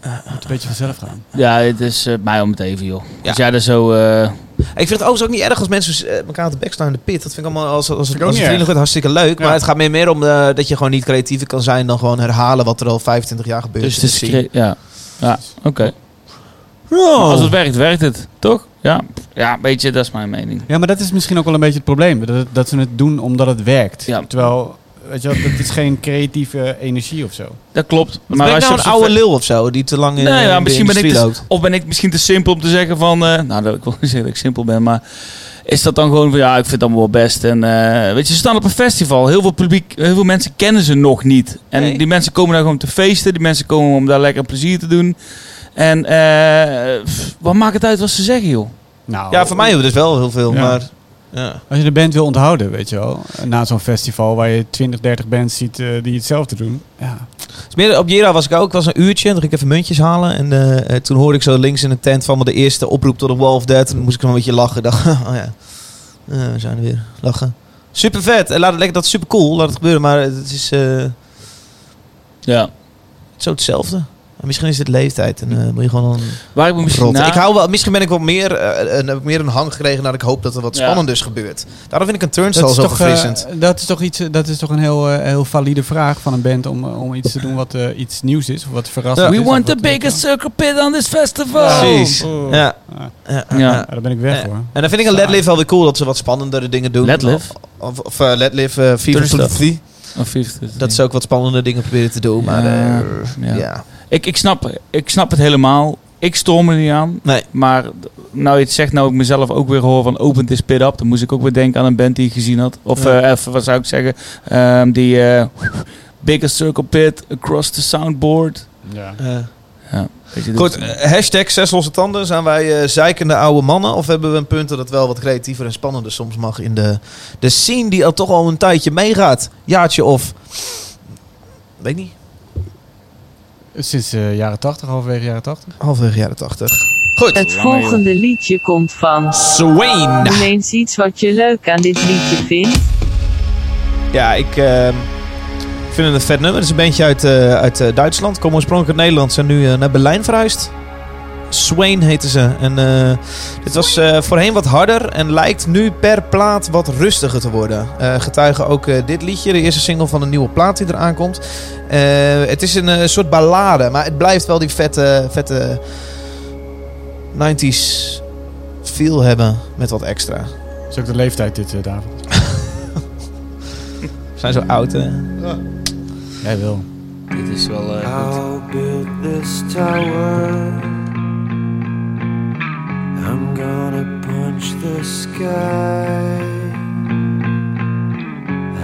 Speaker 4: Het moet een beetje vanzelf gaan.
Speaker 3: Ja, het is eh, mij om het even, joh.
Speaker 2: Ja.
Speaker 3: Als jij er zo... eh,
Speaker 2: Ik vind het overigens ook niet erg als mensen eh, elkaar op de bek staan in de pit. Dat vind ik allemaal als, als, als,
Speaker 4: ik
Speaker 2: als
Speaker 4: ook
Speaker 2: het
Speaker 4: niet
Speaker 2: vriendelijk wordt hartstikke leuk.
Speaker 4: Ja.
Speaker 2: Maar het gaat meer, meer om eh, dat je gewoon niet creatiever kan zijn dan gewoon herhalen wat er al 25 jaar gebeurt.
Speaker 3: dus
Speaker 2: in
Speaker 3: het is...
Speaker 2: scene.
Speaker 3: cre- Ja, ja oké.
Speaker 2: Wow.
Speaker 3: Als het werkt, werkt het. Toch? Ja. ja, weet je, dat is mijn mening.
Speaker 4: Ja, maar dat is misschien ook wel een beetje het probleem. Dat, dat ze het doen omdat het werkt.
Speaker 3: Ja.
Speaker 4: Terwijl, weet je wel, dat is geen creatieve energie of zo.
Speaker 3: Dat klopt.
Speaker 2: Maar ben
Speaker 3: als
Speaker 2: ik nou
Speaker 3: je
Speaker 2: een
Speaker 3: op zo'n
Speaker 2: oude lul of zo, die te lang in
Speaker 3: Nee,
Speaker 2: in
Speaker 3: ja,
Speaker 2: de
Speaker 3: misschien ben ik
Speaker 2: industrie
Speaker 3: te-
Speaker 2: loopt?
Speaker 3: Of ben ik misschien te simpel om te zeggen van... eh, nou, dat, ik wil niet zeggen dat ik simpel ben, maar... Is dat dan gewoon van, ja, ik vind het allemaal wel best. En, eh, weet je, ze staan op een festival. Heel veel, publiek, heel veel mensen kennen ze nog niet. En
Speaker 2: Nee.
Speaker 3: die mensen komen daar gewoon te feesten. Die mensen komen om daar lekker plezier te doen. En eh, pff, wat maakt het uit wat ze zeggen, joh?
Speaker 4: Nou,
Speaker 2: Ja, voor mij hebben we dus wel heel veel,
Speaker 4: Ja.
Speaker 2: maar... Ja.
Speaker 4: Als je de band wil onthouden, weet je wel. Na zo'n festival waar je 20, 30 bands ziet eh, die hetzelfde doen. Ja.
Speaker 2: Dus meer, op Jera was ik ook, ik was een uurtje, en toen ging ik even muntjes halen. En eh, eh, toen hoorde ik zo links in de tent van me de eerste oproep tot de Wall of Dead. En toen moest ik nog een beetje lachen. Ik dacht, oh ja, Eh, we zijn er weer, lachen. Super vet. En laat het lekker, dat is super cool. Laat het gebeuren, maar het is eh,
Speaker 3: Ja.
Speaker 2: zo hetzelfde. En misschien is het leeftijd en eh, moet je gewoon dan
Speaker 3: Waar ik me misschien nou-
Speaker 2: rotten.
Speaker 3: na...
Speaker 2: Ik hou wel, misschien ben ik wel meer, eh, een, heb ik meer een hang gekregen naar ik hoop dat er wat
Speaker 3: Ja.
Speaker 2: spannend is gebeurt. Daarom vind ik een turnstile zo
Speaker 4: eh,
Speaker 2: verfrissend.
Speaker 4: dat is toch, iets, eh, dat is toch een heel, eh, heel valide vraag van een band om, eh, om iets te doen wat eh, iets nieuws is of wat verrassend is.
Speaker 3: We
Speaker 4: of
Speaker 3: want
Speaker 4: wat,
Speaker 3: the
Speaker 4: eh,
Speaker 3: biggest circle pit on this festival.
Speaker 4: Ja.
Speaker 2: Precies.
Speaker 4: Oh.
Speaker 2: Ja.
Speaker 4: Ah,
Speaker 2: Ja,
Speaker 3: Ja.
Speaker 2: ja.
Speaker 4: daar ben ik
Speaker 3: Eh.
Speaker 4: weg hoor.
Speaker 2: En dan vind ik een
Speaker 4: Saai.
Speaker 2: Ledliv wel weer cool dat ze wat spannendere dingen doen.
Speaker 3: Ledliv?
Speaker 2: Of, of eh, Ledliv eh, Fever
Speaker 3: Turnstile.
Speaker 2: 23.
Speaker 3: Of 50.
Speaker 2: Dat ze ook wat spannende dingen proberen te doen. Maar
Speaker 3: Ja,
Speaker 2: eh, ja.
Speaker 3: ja. Ik, ik, snap, ik snap het helemaal. Ik storm er niet aan.
Speaker 2: Nee.
Speaker 3: Maar d- nou je het zegt, nou ik mezelf ook weer hoor van Open This Pit Up. Dan moest ik ook weer denken aan een band die ik gezien had. Of
Speaker 2: Ja.
Speaker 3: eh, even, wat zou ik zeggen? Ehm, die eh, Bigger Circle Pit, Across the Soundboard.
Speaker 4: Ja.
Speaker 2: Eh,
Speaker 3: Weet je, dat-
Speaker 2: Goed, eh, hashtag zes losse tanden. Zijn wij eh, zeikende oude mannen? Of hebben we een punt dat het wel wat creatiever en spannender soms mag in de, de scene die al toch al een tijdje meegaat? Jaartje of... Weet niet.
Speaker 4: Sinds eh, jaren 80, halverwege jaren 80.
Speaker 2: Halverwege jaren tachtig. Goed.
Speaker 7: Het volgende liedje komt van.
Speaker 2: Swain.
Speaker 7: Noem eens iets wat je leuk aan dit liedje vindt.
Speaker 2: Ja, ik ehm, vind het een vet nummer. Het is een bandje uit, eh, uit eh, Duitsland. Komen oorspronkelijk uit Nederland. Zijn nu eh, naar Berlijn verhuisd. Swain heten ze. En eh, dit was eh, voorheen wat harder. En lijkt nu per plaat wat rustiger te worden. Eh, getuigen ook eh, dit liedje. De eerste single van een nieuwe plaat die eraan komt. Eh, het is een eh, soort ballade. Maar het blijft wel die vette, vette 90s feel hebben. Met wat extra.
Speaker 4: Dat is ook de leeftijd dit, eh, David.
Speaker 2: We zijn zo oud, hè?
Speaker 4: Jij wil.
Speaker 3: Dit is wel... eh, goed.
Speaker 6: I'll build this tower. I'm gonna punch the sky.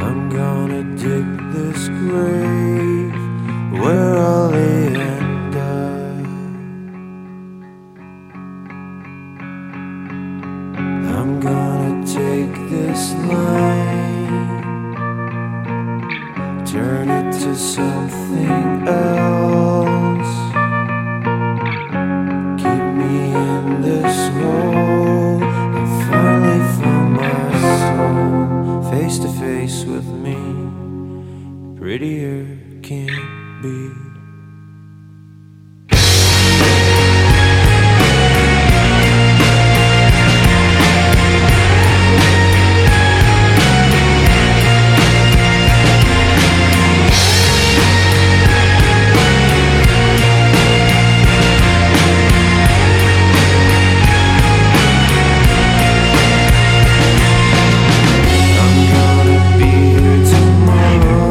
Speaker 6: I'm gonna dig this grave where I'll lay and die. I'm gonna take this line turn it to something else. Keep me in this hole. I finally found my soul face to face with me. Prettier can't be. I'm gonna be here tomorrow.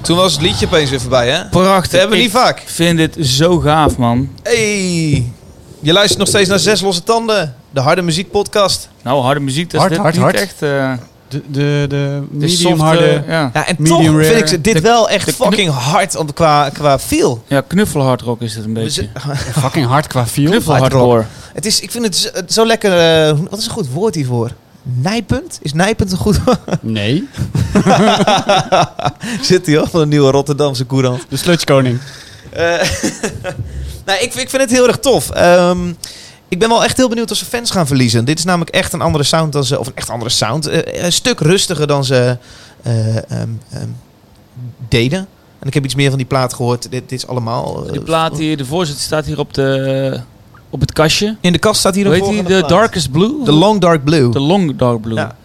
Speaker 2: Toen was het liedje opeens weer voorbij, hè?
Speaker 3: Prachtig.
Speaker 2: Dat hebben we
Speaker 3: Ik
Speaker 2: niet vaak.
Speaker 3: vind dit zo gaaf, man.
Speaker 2: Hey, je luistert nog steeds naar Zes Losse Tanden, de harde muziekpodcast.
Speaker 3: Nou, harde muziek, dat
Speaker 4: Hard,
Speaker 3: is dit
Speaker 4: hard,
Speaker 3: niet
Speaker 4: hard.
Speaker 3: echt... eh,
Speaker 4: De, de, de
Speaker 3: het is
Speaker 4: medium
Speaker 3: soft,
Speaker 4: harde...
Speaker 3: eh, ja.
Speaker 2: Ja, en
Speaker 4: Medium
Speaker 2: toch
Speaker 4: rare.
Speaker 2: vind ik dit
Speaker 3: De-
Speaker 2: wel echt
Speaker 3: de knu-
Speaker 2: fucking hard op, qua, qua feel.
Speaker 3: ja, knuffelhardrock is het een
Speaker 2: We
Speaker 3: beetje.
Speaker 2: zi-
Speaker 4: eh, Fucking hard qua feel.
Speaker 3: Knuffelhardcore.
Speaker 2: Het is, ik vind het zo- het zo lekker... eh, wat is een goed woord hiervoor? Nijpunt? Is nijpunt een goed woord?
Speaker 4: Nee.
Speaker 2: Zit hij al van een nieuwe Rotterdamse courant.
Speaker 4: De sludgekoning.
Speaker 2: Eh, nou, ik, ik vind het heel erg tof. Ehm, ik ben wel echt heel benieuwd of ze fans gaan verliezen. Dit is namelijk echt een andere sound dan ze. Of een echt andere sound. eh, een stuk rustiger dan ze eh, ehm, ehm, deden. En ik heb iets meer van die plaat gehoord. Dit, dit is allemaal. eh,
Speaker 3: Die plaat hier, de voorzitter staat hier op, de, op het kastje.
Speaker 2: In de kast staat hier een
Speaker 3: Weet je,
Speaker 2: volgende
Speaker 3: de
Speaker 2: plaat.
Speaker 3: Darkest Blue?
Speaker 2: The Long Dark Blue.
Speaker 3: De Long Dark Blue.
Speaker 2: Ja.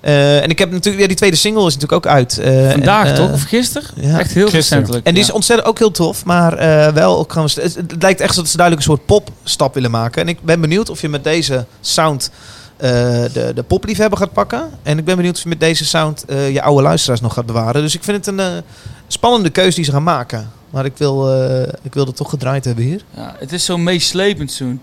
Speaker 2: Eh, en ik heb natuurlijk. Ja, die tweede single is natuurlijk ook uit. eh,
Speaker 3: Vandaag
Speaker 2: en, eh,
Speaker 3: toch? Of gisteren?
Speaker 2: Ja.
Speaker 3: Echt heel
Speaker 4: Gisteren.
Speaker 3: recentelijk.
Speaker 2: En die is
Speaker 3: ja.
Speaker 2: ontzettend ook heel tof, maar eh, wel ook gewoon. Het, het lijkt echt dat ze duidelijk een soort popstap willen maken. En ik ben benieuwd of je met deze sound eh, de, de popliefhebber gaat pakken. En ik ben benieuwd of je met deze sound eh, je oude luisteraars nog gaat bewaren. Dus ik vind het een eh, spannende keuze die ze gaan maken. Maar ik wil, eh, ik wil het toch gedraaid hebben hier.
Speaker 3: Ja, het is zo meeslepend, zo'n...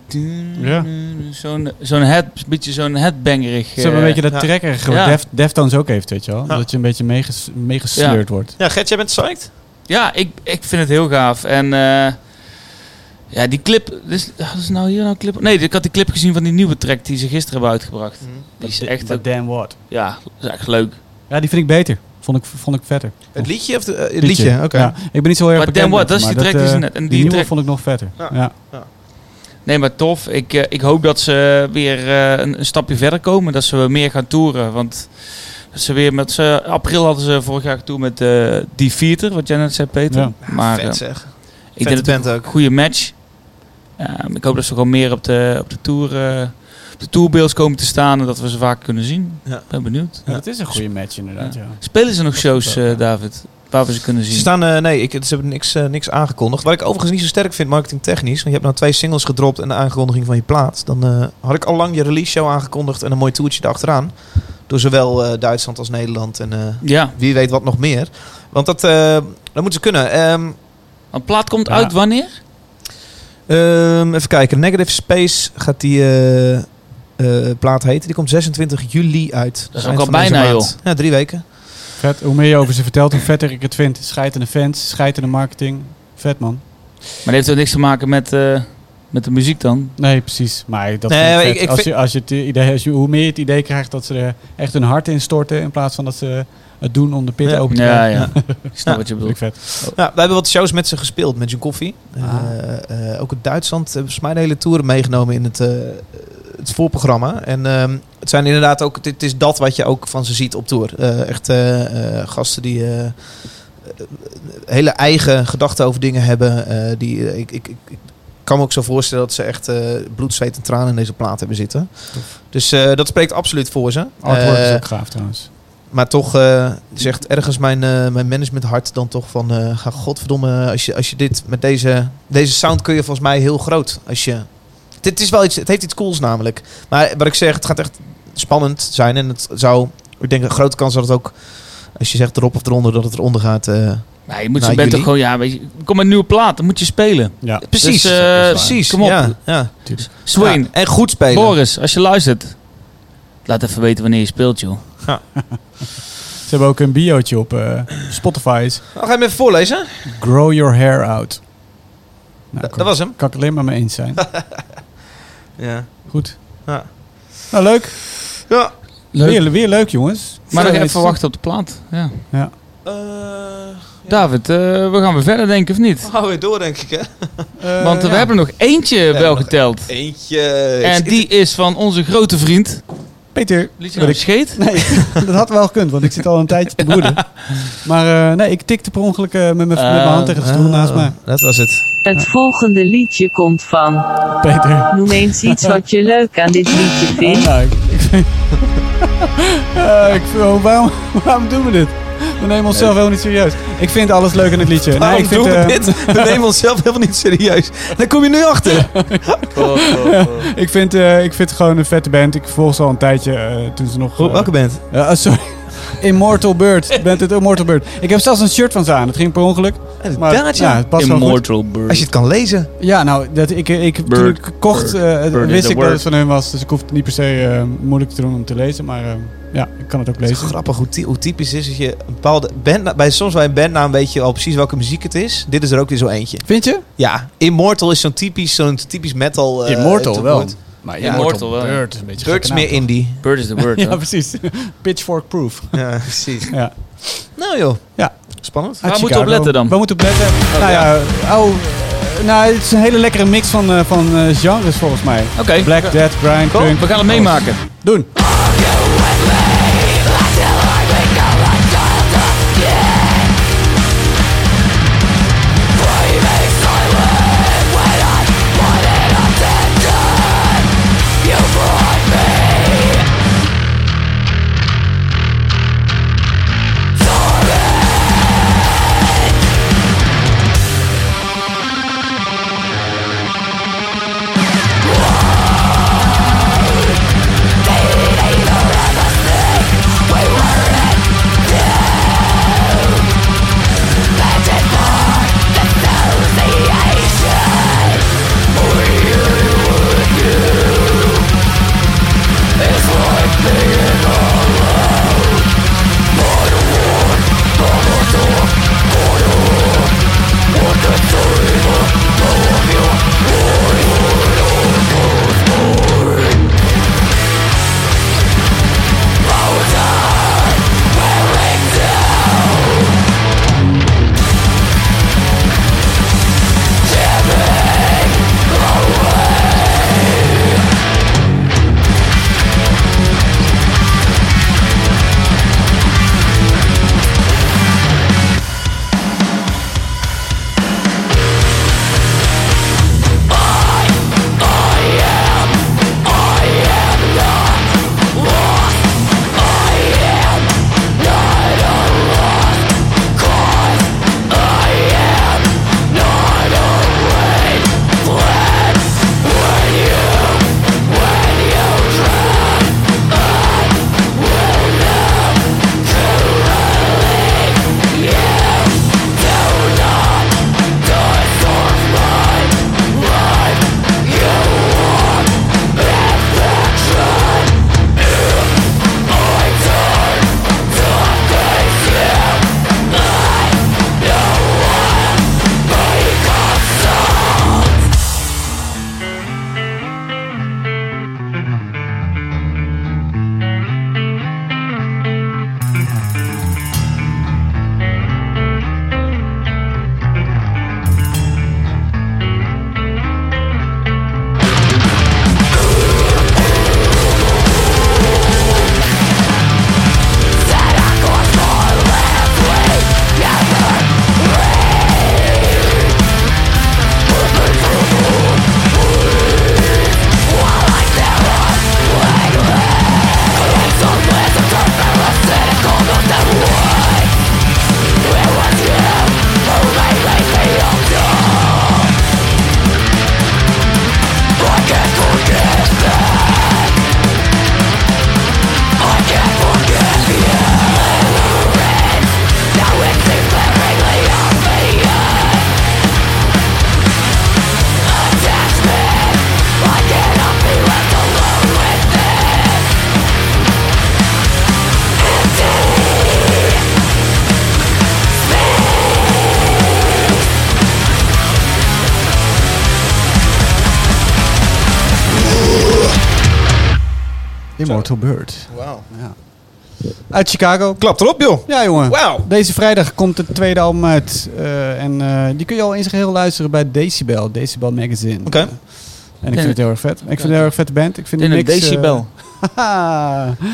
Speaker 4: Ja.
Speaker 3: Zo'n zo'n head, een beetje zo'n headbangerig.
Speaker 4: Ze hebben
Speaker 3: eh,
Speaker 4: een beetje
Speaker 2: ja.
Speaker 4: dat trekkerige
Speaker 3: Ja.
Speaker 4: wat Def, Deftones ook heeft, weet je wel.
Speaker 2: Ja.
Speaker 4: Dat je een beetje meeges- meegesleurd wordt.
Speaker 2: Ja, Gert, jij bent psyched?
Speaker 3: Ja, ik, ik vind het heel gaaf. En eh, ja, die clip... Dus, hadden ze nou hier nou een clip? Nee, ik had die clip gezien van die nieuwe track die ze gisteren hebben uitgebracht. Die is echt... ook-
Speaker 4: damn what.
Speaker 3: Ja, dat is echt leuk.
Speaker 4: Ja, die vind ik beter. Vond ik, vond ik vetter.
Speaker 2: Het liedje of de- eh, het liedje? Oké.
Speaker 4: Ja. Ik ben niet zo heel erg
Speaker 3: Maar damn
Speaker 4: bekend
Speaker 3: what,
Speaker 4: met
Speaker 3: dat is
Speaker 4: hem,
Speaker 3: die
Speaker 4: maar
Speaker 3: track die ze
Speaker 4: eh,
Speaker 3: net- en
Speaker 4: die,
Speaker 3: die
Speaker 4: nieuwe
Speaker 3: track-
Speaker 4: vond ik nog vetter.
Speaker 2: Ja.
Speaker 4: Ja.
Speaker 3: Nee, maar tof. Ik, eh, ik hoop dat ze weer eh, een, een stapje verder komen. Dat ze weer meer gaan toeren. Want ze weer met ze, april hadden ze vorig jaar toe met eh die Vierter, wat jij net zei, Peter.
Speaker 4: Ja.
Speaker 3: Maar eh,
Speaker 2: Vet zeg.
Speaker 3: ik
Speaker 2: Vette
Speaker 3: denk dat het
Speaker 2: band ook.
Speaker 3: een goede match. Ehm, ik hoop dat ze gewoon meer op de, op de tour. eh, op de tourbeels komen te staan en dat we ze vaak kunnen zien.
Speaker 2: Ja.
Speaker 3: Ben benieuwd.
Speaker 4: Ja, Dat is een goede match inderdaad, ja.
Speaker 3: Spelen ze nog shows,
Speaker 4: ook, ja.
Speaker 3: eh, David? Waar we ze kunnen
Speaker 2: Ze
Speaker 3: zien?
Speaker 2: staan, eh, nee, ik, ze hebben niks, eh, niks aangekondigd. Wat ik overigens niet zo sterk vind marketingtechnisch. Want je hebt nou twee singles gedropt en de aankondiging van je plaat. Dan eh, had ik al lang je release show aangekondigd en een mooi toertje erachteraan. Door zowel eh, Duitsland als Nederland en eh,
Speaker 3: Ja,
Speaker 2: wie weet wat nog meer. Want dat, eh, dat moeten ze kunnen. Ehm,
Speaker 3: een plaat komt
Speaker 4: Ja.
Speaker 3: uit wanneer?
Speaker 2: ehm, even kijken. Negative Space gaat die eh, eh, plaat heten. Die komt 26 juli uit.
Speaker 3: is ook
Speaker 2: Eind
Speaker 3: al
Speaker 2: van deze
Speaker 3: bijna,
Speaker 2: maand. Ja, drie weken.
Speaker 4: Vet, hoe meer je over ze vertelt, hoe vetter ik het vind. Scheitende fans, scheitende marketing. Vet man.
Speaker 3: Maar dat heeft ook niks te maken met, eh, met de muziek dan.
Speaker 4: Nee, precies. Maar dat
Speaker 2: Nee,
Speaker 4: vind ik
Speaker 2: maar
Speaker 4: vet.
Speaker 2: ik- ik
Speaker 4: als,
Speaker 2: vind-
Speaker 4: je, als, je het idee, als je hoe meer je het idee krijgt dat ze er echt hun hart in storten in plaats van dat ze het doen om de pit
Speaker 2: Ja.
Speaker 4: open te
Speaker 3: Ja,
Speaker 4: krijgen.
Speaker 3: ja. Ik snap
Speaker 2: Ja.
Speaker 3: wat je
Speaker 4: Vind ik
Speaker 3: bedoelt.
Speaker 4: vet.
Speaker 2: Ja, we hebben wat shows met ze gespeeld, met John Koffie.
Speaker 4: Ah.
Speaker 2: Eh, eh, ook in Duitsland hebben ze mij de hele tour meegenomen in het, eh, het voorprogramma. En ehm, het zijn inderdaad ook, dit is dat wat je ook van ze ziet op tour. Eh, echt eh, eh, gasten die eh, eh, hele eigen gedachten over dingen hebben. eh, die, eh, ik, ik, ik, ik kan me ook zo voorstellen dat ze echt eh, bloed, zweet en tranen in deze plaat hebben zitten. Dus eh, dat spreekt absoluut voor ze.
Speaker 4: Artwork
Speaker 2: Eh,
Speaker 4: is ook gaaf trouwens.
Speaker 2: maar toch eh, zegt ergens mijn, eh, mijn management hart dan toch van... eh, ga godverdomme, als je, als je dit met deze... Deze sound kun je volgens mij heel groot. Als je, dit is wel iets, het heeft iets cools namelijk. Maar wat ik zeg, het gaat echt spannend zijn. En het zou, ik denk een grote kans dat het ook... Als je zegt erop of eronder, dat het eronder gaat. eh,
Speaker 3: Nee, je moet
Speaker 2: Nou,
Speaker 3: je bent
Speaker 2: jullie?
Speaker 3: toch gewoon, ja, weet je, kom een nieuwe plaat, dan moet je spelen.
Speaker 4: Ja.
Speaker 2: precies,
Speaker 3: Dus, eh,
Speaker 2: precies.
Speaker 3: Kom op.
Speaker 2: Ja, ja.
Speaker 3: Swain,
Speaker 2: Ja, en goed spelen.
Speaker 3: Boris, als je luistert, laat even weten wanneer je speelt, joh.
Speaker 4: Ze hebben ook een biootje op eh, Spotify. Is
Speaker 2: Nou, ga je hem even voorlezen?
Speaker 4: Grow Your Hair Out. Nou,
Speaker 2: Dat,
Speaker 4: kan-
Speaker 2: dat was hem.
Speaker 4: Kan ik alleen maar mee eens zijn.
Speaker 2: Ja.
Speaker 4: Goed.
Speaker 2: Ja.
Speaker 4: Nou, leuk.
Speaker 2: ja.
Speaker 4: Weer, weer leuk, jongens. Eh,
Speaker 3: Maar
Speaker 4: Veel
Speaker 3: nog even
Speaker 4: mensen.
Speaker 3: wachten op de plaat. Ja.
Speaker 2: Eh,
Speaker 3: David, eh, we gaan weer verder denken, of niet?
Speaker 2: we gaan weer door, denk ik, hè?
Speaker 4: Eh,
Speaker 3: Want we
Speaker 4: ja.
Speaker 3: hebben er nog eentje
Speaker 2: hebben
Speaker 3: wel
Speaker 2: nog
Speaker 3: geteld.
Speaker 2: Eentje.
Speaker 3: En die is van onze grote vriend.
Speaker 4: Peter,
Speaker 3: Liet je
Speaker 4: wil
Speaker 3: nou
Speaker 4: ik
Speaker 3: scheet?
Speaker 4: Nee, dat had wel gekund, want ik zit al een tijdje te broeden. Maar eh, nee, ik tikte per ongeluk eh, met mijn met mijn hand tegen de stoel naast
Speaker 2: me.
Speaker 4: mij.
Speaker 2: Oh, Dat was het.
Speaker 7: Het volgende liedje komt van.
Speaker 2: eh.
Speaker 4: Peter.
Speaker 7: Noem eens iets wat je leuk aan dit liedje
Speaker 4: Oh,
Speaker 7: vindt.
Speaker 4: nou, ik, ik vind- Eh, ik vind- oh, waarom, waarom doen we dit? We nemen onszelf helemaal niet serieus. Ik vind alles leuk in het liedje. Nee,
Speaker 2: Waarom
Speaker 4: ik vind,
Speaker 2: doen we
Speaker 4: eh,
Speaker 2: dit? We nemen onszelf helemaal niet serieus. Daar kom je nu achter.
Speaker 4: Ik vind, eh, ik vind het gewoon een vette band. Ik volg ze al een tijdje eh, toen ze nog... eh,
Speaker 2: Welke band?
Speaker 4: eh, sorry. Immortal Bird. Je bent het Immortal Bird. Ik heb zelfs een shirt van ze aan. Het ging per ongeluk.
Speaker 2: Inderdaad, ja.
Speaker 4: het past wel goed.
Speaker 3: Immortal Bird.
Speaker 2: Als je het kan lezen.
Speaker 4: Ja, nou, dat, ik, ik, toen
Speaker 3: Bird,
Speaker 4: ik kocht,
Speaker 3: bird,
Speaker 4: eh,
Speaker 3: bird is
Speaker 4: wist
Speaker 3: a
Speaker 4: ik dat
Speaker 3: word.
Speaker 4: het van hun was. Dus ik hoef het niet per se eh, moeilijk te doen om te lezen. Maar eh, ja, ik kan het ook
Speaker 2: Het is
Speaker 4: lezen.
Speaker 2: grappig hoe, ty- hoe typisch is dat je een bepaalde band, bij soms bij een bandnaam weet je al precies welke muziek het is. Dit is er ook weer zo eentje.
Speaker 4: Vind je?
Speaker 2: Ja, Immortal is zo'n typisch, zo'n typisch metal. eh,
Speaker 4: Immortal
Speaker 2: tegemoet.
Speaker 4: wel. Maar
Speaker 3: ja, Immortal wel.
Speaker 4: Bird is een beetje
Speaker 2: Bird is
Speaker 4: gekke
Speaker 2: meer indie.
Speaker 3: Bird is the word.
Speaker 4: naam. Ja,
Speaker 3: hè?
Speaker 4: precies. Pitchfork proof.
Speaker 2: Ja, precies.
Speaker 4: Ja.
Speaker 2: Nou joh.
Speaker 4: Ja.
Speaker 2: Spannend.
Speaker 4: Uit
Speaker 3: Waar moeten we
Speaker 4: Chicago.
Speaker 3: op letten dan?
Speaker 4: We moeten op letten. nou ja, oh, eh, nou, het is een hele lekkere mix van, eh, van eh, genres volgens mij.
Speaker 3: Oké,
Speaker 4: Black Dead, Grind,
Speaker 3: Cool.
Speaker 4: Punk.
Speaker 3: we gaan het meemaken.
Speaker 4: Doen. Immortal Bird.
Speaker 2: Wauw.
Speaker 4: Uit Chicago.
Speaker 2: Klap erop joh.
Speaker 4: Ja, jongen.
Speaker 2: Wauw.
Speaker 4: Deze vrijdag komt het tweede album uit. eh, en eh, die kun je al in zijn geheel luisteren bij Decibel. Decibel Magazine.
Speaker 2: Oké.
Speaker 4: Eh, en ik vind het heel erg vet. Ik vind het een heel erg vette band. Ik vind
Speaker 3: In
Speaker 4: die
Speaker 3: een
Speaker 4: mix, eh,
Speaker 3: decibel.
Speaker 4: haha.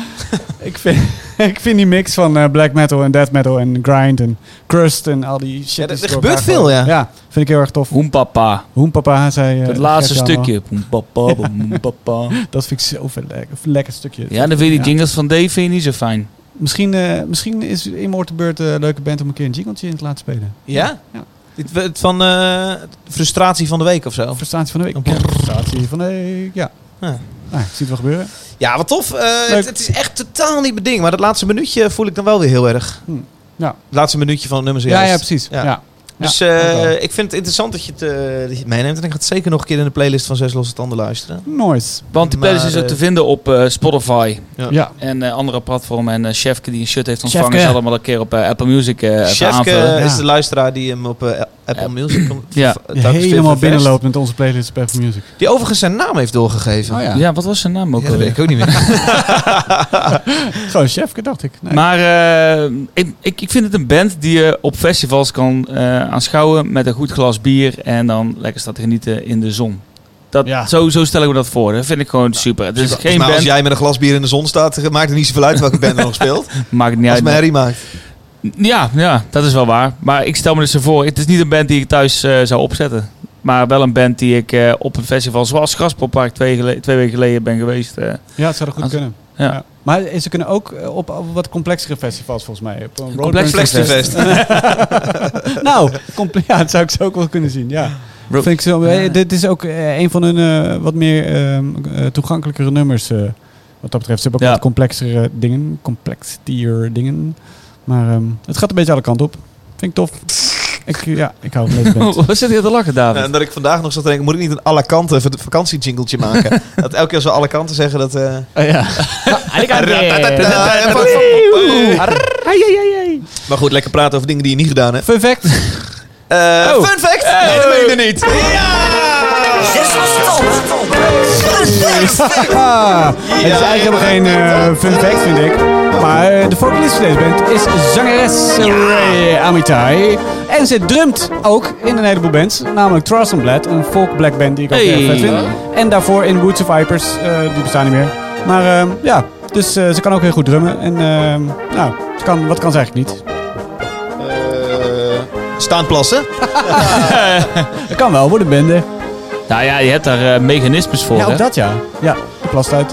Speaker 4: ik, vind, ik vind die mix van eh, black metal en death metal en grind en crust en al die shit.
Speaker 2: Ja, er- er
Speaker 4: die ze door
Speaker 2: gebeurt
Speaker 4: elkaar
Speaker 2: veel,
Speaker 4: gooien.
Speaker 2: ja.
Speaker 4: Ja, vind ik heel erg tof.
Speaker 3: Hoempapa.
Speaker 4: Hoenpapa zei... eh,
Speaker 3: Het laatste
Speaker 4: Gert-Jan al.
Speaker 3: stukje. Hoempapa, hoempapa.
Speaker 4: Dat vind ik zo vet lekker, lekker stukje.
Speaker 3: Ja, dan vind je die jingles van Dave vind je niet zo fijn.
Speaker 4: Misschien, eh, misschien is Immortal Bird eh, een leuke band om een keer een jingletje in te laten spelen.
Speaker 2: Ja?
Speaker 4: Ja.
Speaker 2: Dit we- het van eh, frustratie van de week of zo.
Speaker 4: Frustratie van de week.
Speaker 2: Ja.
Speaker 4: Frustratie van de week, ja.
Speaker 2: Ja.
Speaker 4: Nou, ik zie het wel gebeuren.
Speaker 2: Ja, Ja, wat tof. Eh,
Speaker 4: Leuk.
Speaker 2: het, het is echt totaal niet mijn ding. Maar dat laatste minuutje voel ik dan wel weer heel erg.
Speaker 4: Hm. Ja.
Speaker 2: Het laatste minuutje van het nummer
Speaker 4: Ja,
Speaker 2: zojuist.
Speaker 4: ja, precies.
Speaker 2: Ja.
Speaker 4: Ja.
Speaker 2: Dus
Speaker 4: Ja,
Speaker 2: eh,
Speaker 4: dankjewel.
Speaker 2: ik vind het interessant dat je het, eh, dat je het meeneemt. En ik ga het zeker nog een keer in de playlist van Zes Losse Tanden luisteren.
Speaker 4: Nice.
Speaker 3: Want die playlist
Speaker 2: Maar,
Speaker 3: is ook
Speaker 2: eh,
Speaker 3: te vinden op eh, Spotify
Speaker 2: Ja.
Speaker 4: Ja.
Speaker 3: en eh, andere platformen. En eh Chefke, die een shut heeft ontvangen,
Speaker 4: Chefke.
Speaker 3: zal hem wel een keer op eh, Apple Music eh even
Speaker 2: Chefke
Speaker 3: aanvullen.
Speaker 2: is
Speaker 4: Ja.
Speaker 2: de luisteraar die hem op eh, Apple Music kan-
Speaker 3: Ja.
Speaker 2: telkens
Speaker 4: Je
Speaker 2: weer
Speaker 4: helemaal
Speaker 2: ververst.
Speaker 4: binnenloopt met onze playlist op Apple Music.
Speaker 2: Die overigens zijn naam heeft doorgegeven.
Speaker 4: Oh
Speaker 3: Ja.
Speaker 4: ja.
Speaker 3: wat was zijn naam ook
Speaker 2: Ja, dat
Speaker 3: alweer?
Speaker 2: weet ik ook niet meer.
Speaker 4: Gewoon chefke, dacht ik. Nee.
Speaker 3: Maar eh, ik, ik, ik vind het een band die je op festivals kan eh, aanschouwen met een goed glas bier en dan lekker staat te genieten in de zon. Dat,
Speaker 4: Ja.
Speaker 3: zo, zo stel ik me dat voor. Dat vind ik gewoon super. Het is Dus geen
Speaker 2: maar als
Speaker 3: band,
Speaker 2: jij met een glas bier in de zon staat, maakt het niet zoveel uit welke band er nog speelt.
Speaker 3: maakt het niet
Speaker 2: Als
Speaker 3: uit.
Speaker 2: het maar herrie maakt.
Speaker 3: Ja, ja, dat is wel waar. Maar ik stel me dus voor, het is niet een band die ik thuis eh, zou opzetten. Maar wel een band die ik eh, op een festival zoals Graspoppark twee, gele- twee weken geleden ben geweest. eh.
Speaker 4: Ja, het zou er goed
Speaker 3: Als-
Speaker 4: kunnen.
Speaker 3: ja.
Speaker 4: Maar eh, ze kunnen ook eh, op, op wat complexere festivals volgens mij. Op een
Speaker 3: Complex
Speaker 4: roadburn-
Speaker 2: Flextivest.
Speaker 4: nou, comple- ja, dat zou ik ze ook wel kunnen zien. Ja.
Speaker 3: Road-
Speaker 4: Vind ik zo, eh, dit is ook eh, een van hun eh, wat meer ehm, eh, toegankelijkere nummers. eh, wat dat betreft. Ze hebben ook
Speaker 3: Ja.
Speaker 4: wat complexere dingen. Complexier dingen. Maar ehm, het gaat een beetje alle kanten op. Vind ik tof. Ik, ja, ik hou van deze band.
Speaker 3: Wat zit hier te lachen, David?
Speaker 2: En dat ik vandaag nog zat te denken, moet ik niet een à la kante v- vakantiejingletje maken? dat elke keer zo à la kante zeggen dat... eh,
Speaker 3: Oh,
Speaker 4: ja.
Speaker 2: Maar goed, lekker praten over dingen die je niet gedaan hebt.
Speaker 4: Fun fact.
Speaker 2: Eh,
Speaker 4: Oh.
Speaker 2: Fun fact! Nee, dat meen je niet. Ja!
Speaker 8: Zes losse tanden.
Speaker 4: Ah, het is eigenlijk helemaal geen eh, fun fact, vind ik. Maar eh, de vocalist van deze band is zangeres Ray Amitai. En ze drumt ook in een heleboel bands. Namelijk Trastengblad, een folk black band die ik ook heel
Speaker 3: Hey.
Speaker 4: vet vind. En daarvoor in Woods of Vipers, eh, die bestaan niet meer. Maar ehm, ja, dus eh, ze kan ook heel goed drummen. En ehm, nou, ze kan, wat kan ze eigenlijk niet?
Speaker 2: Eh, Staan plassen.
Speaker 4: Dat kan wel, worden bende.
Speaker 3: Nou ja, je hebt daar eh, mechanismes voor.
Speaker 4: Ja,
Speaker 3: hè?
Speaker 4: ook dat ja. Ja, de plast uit.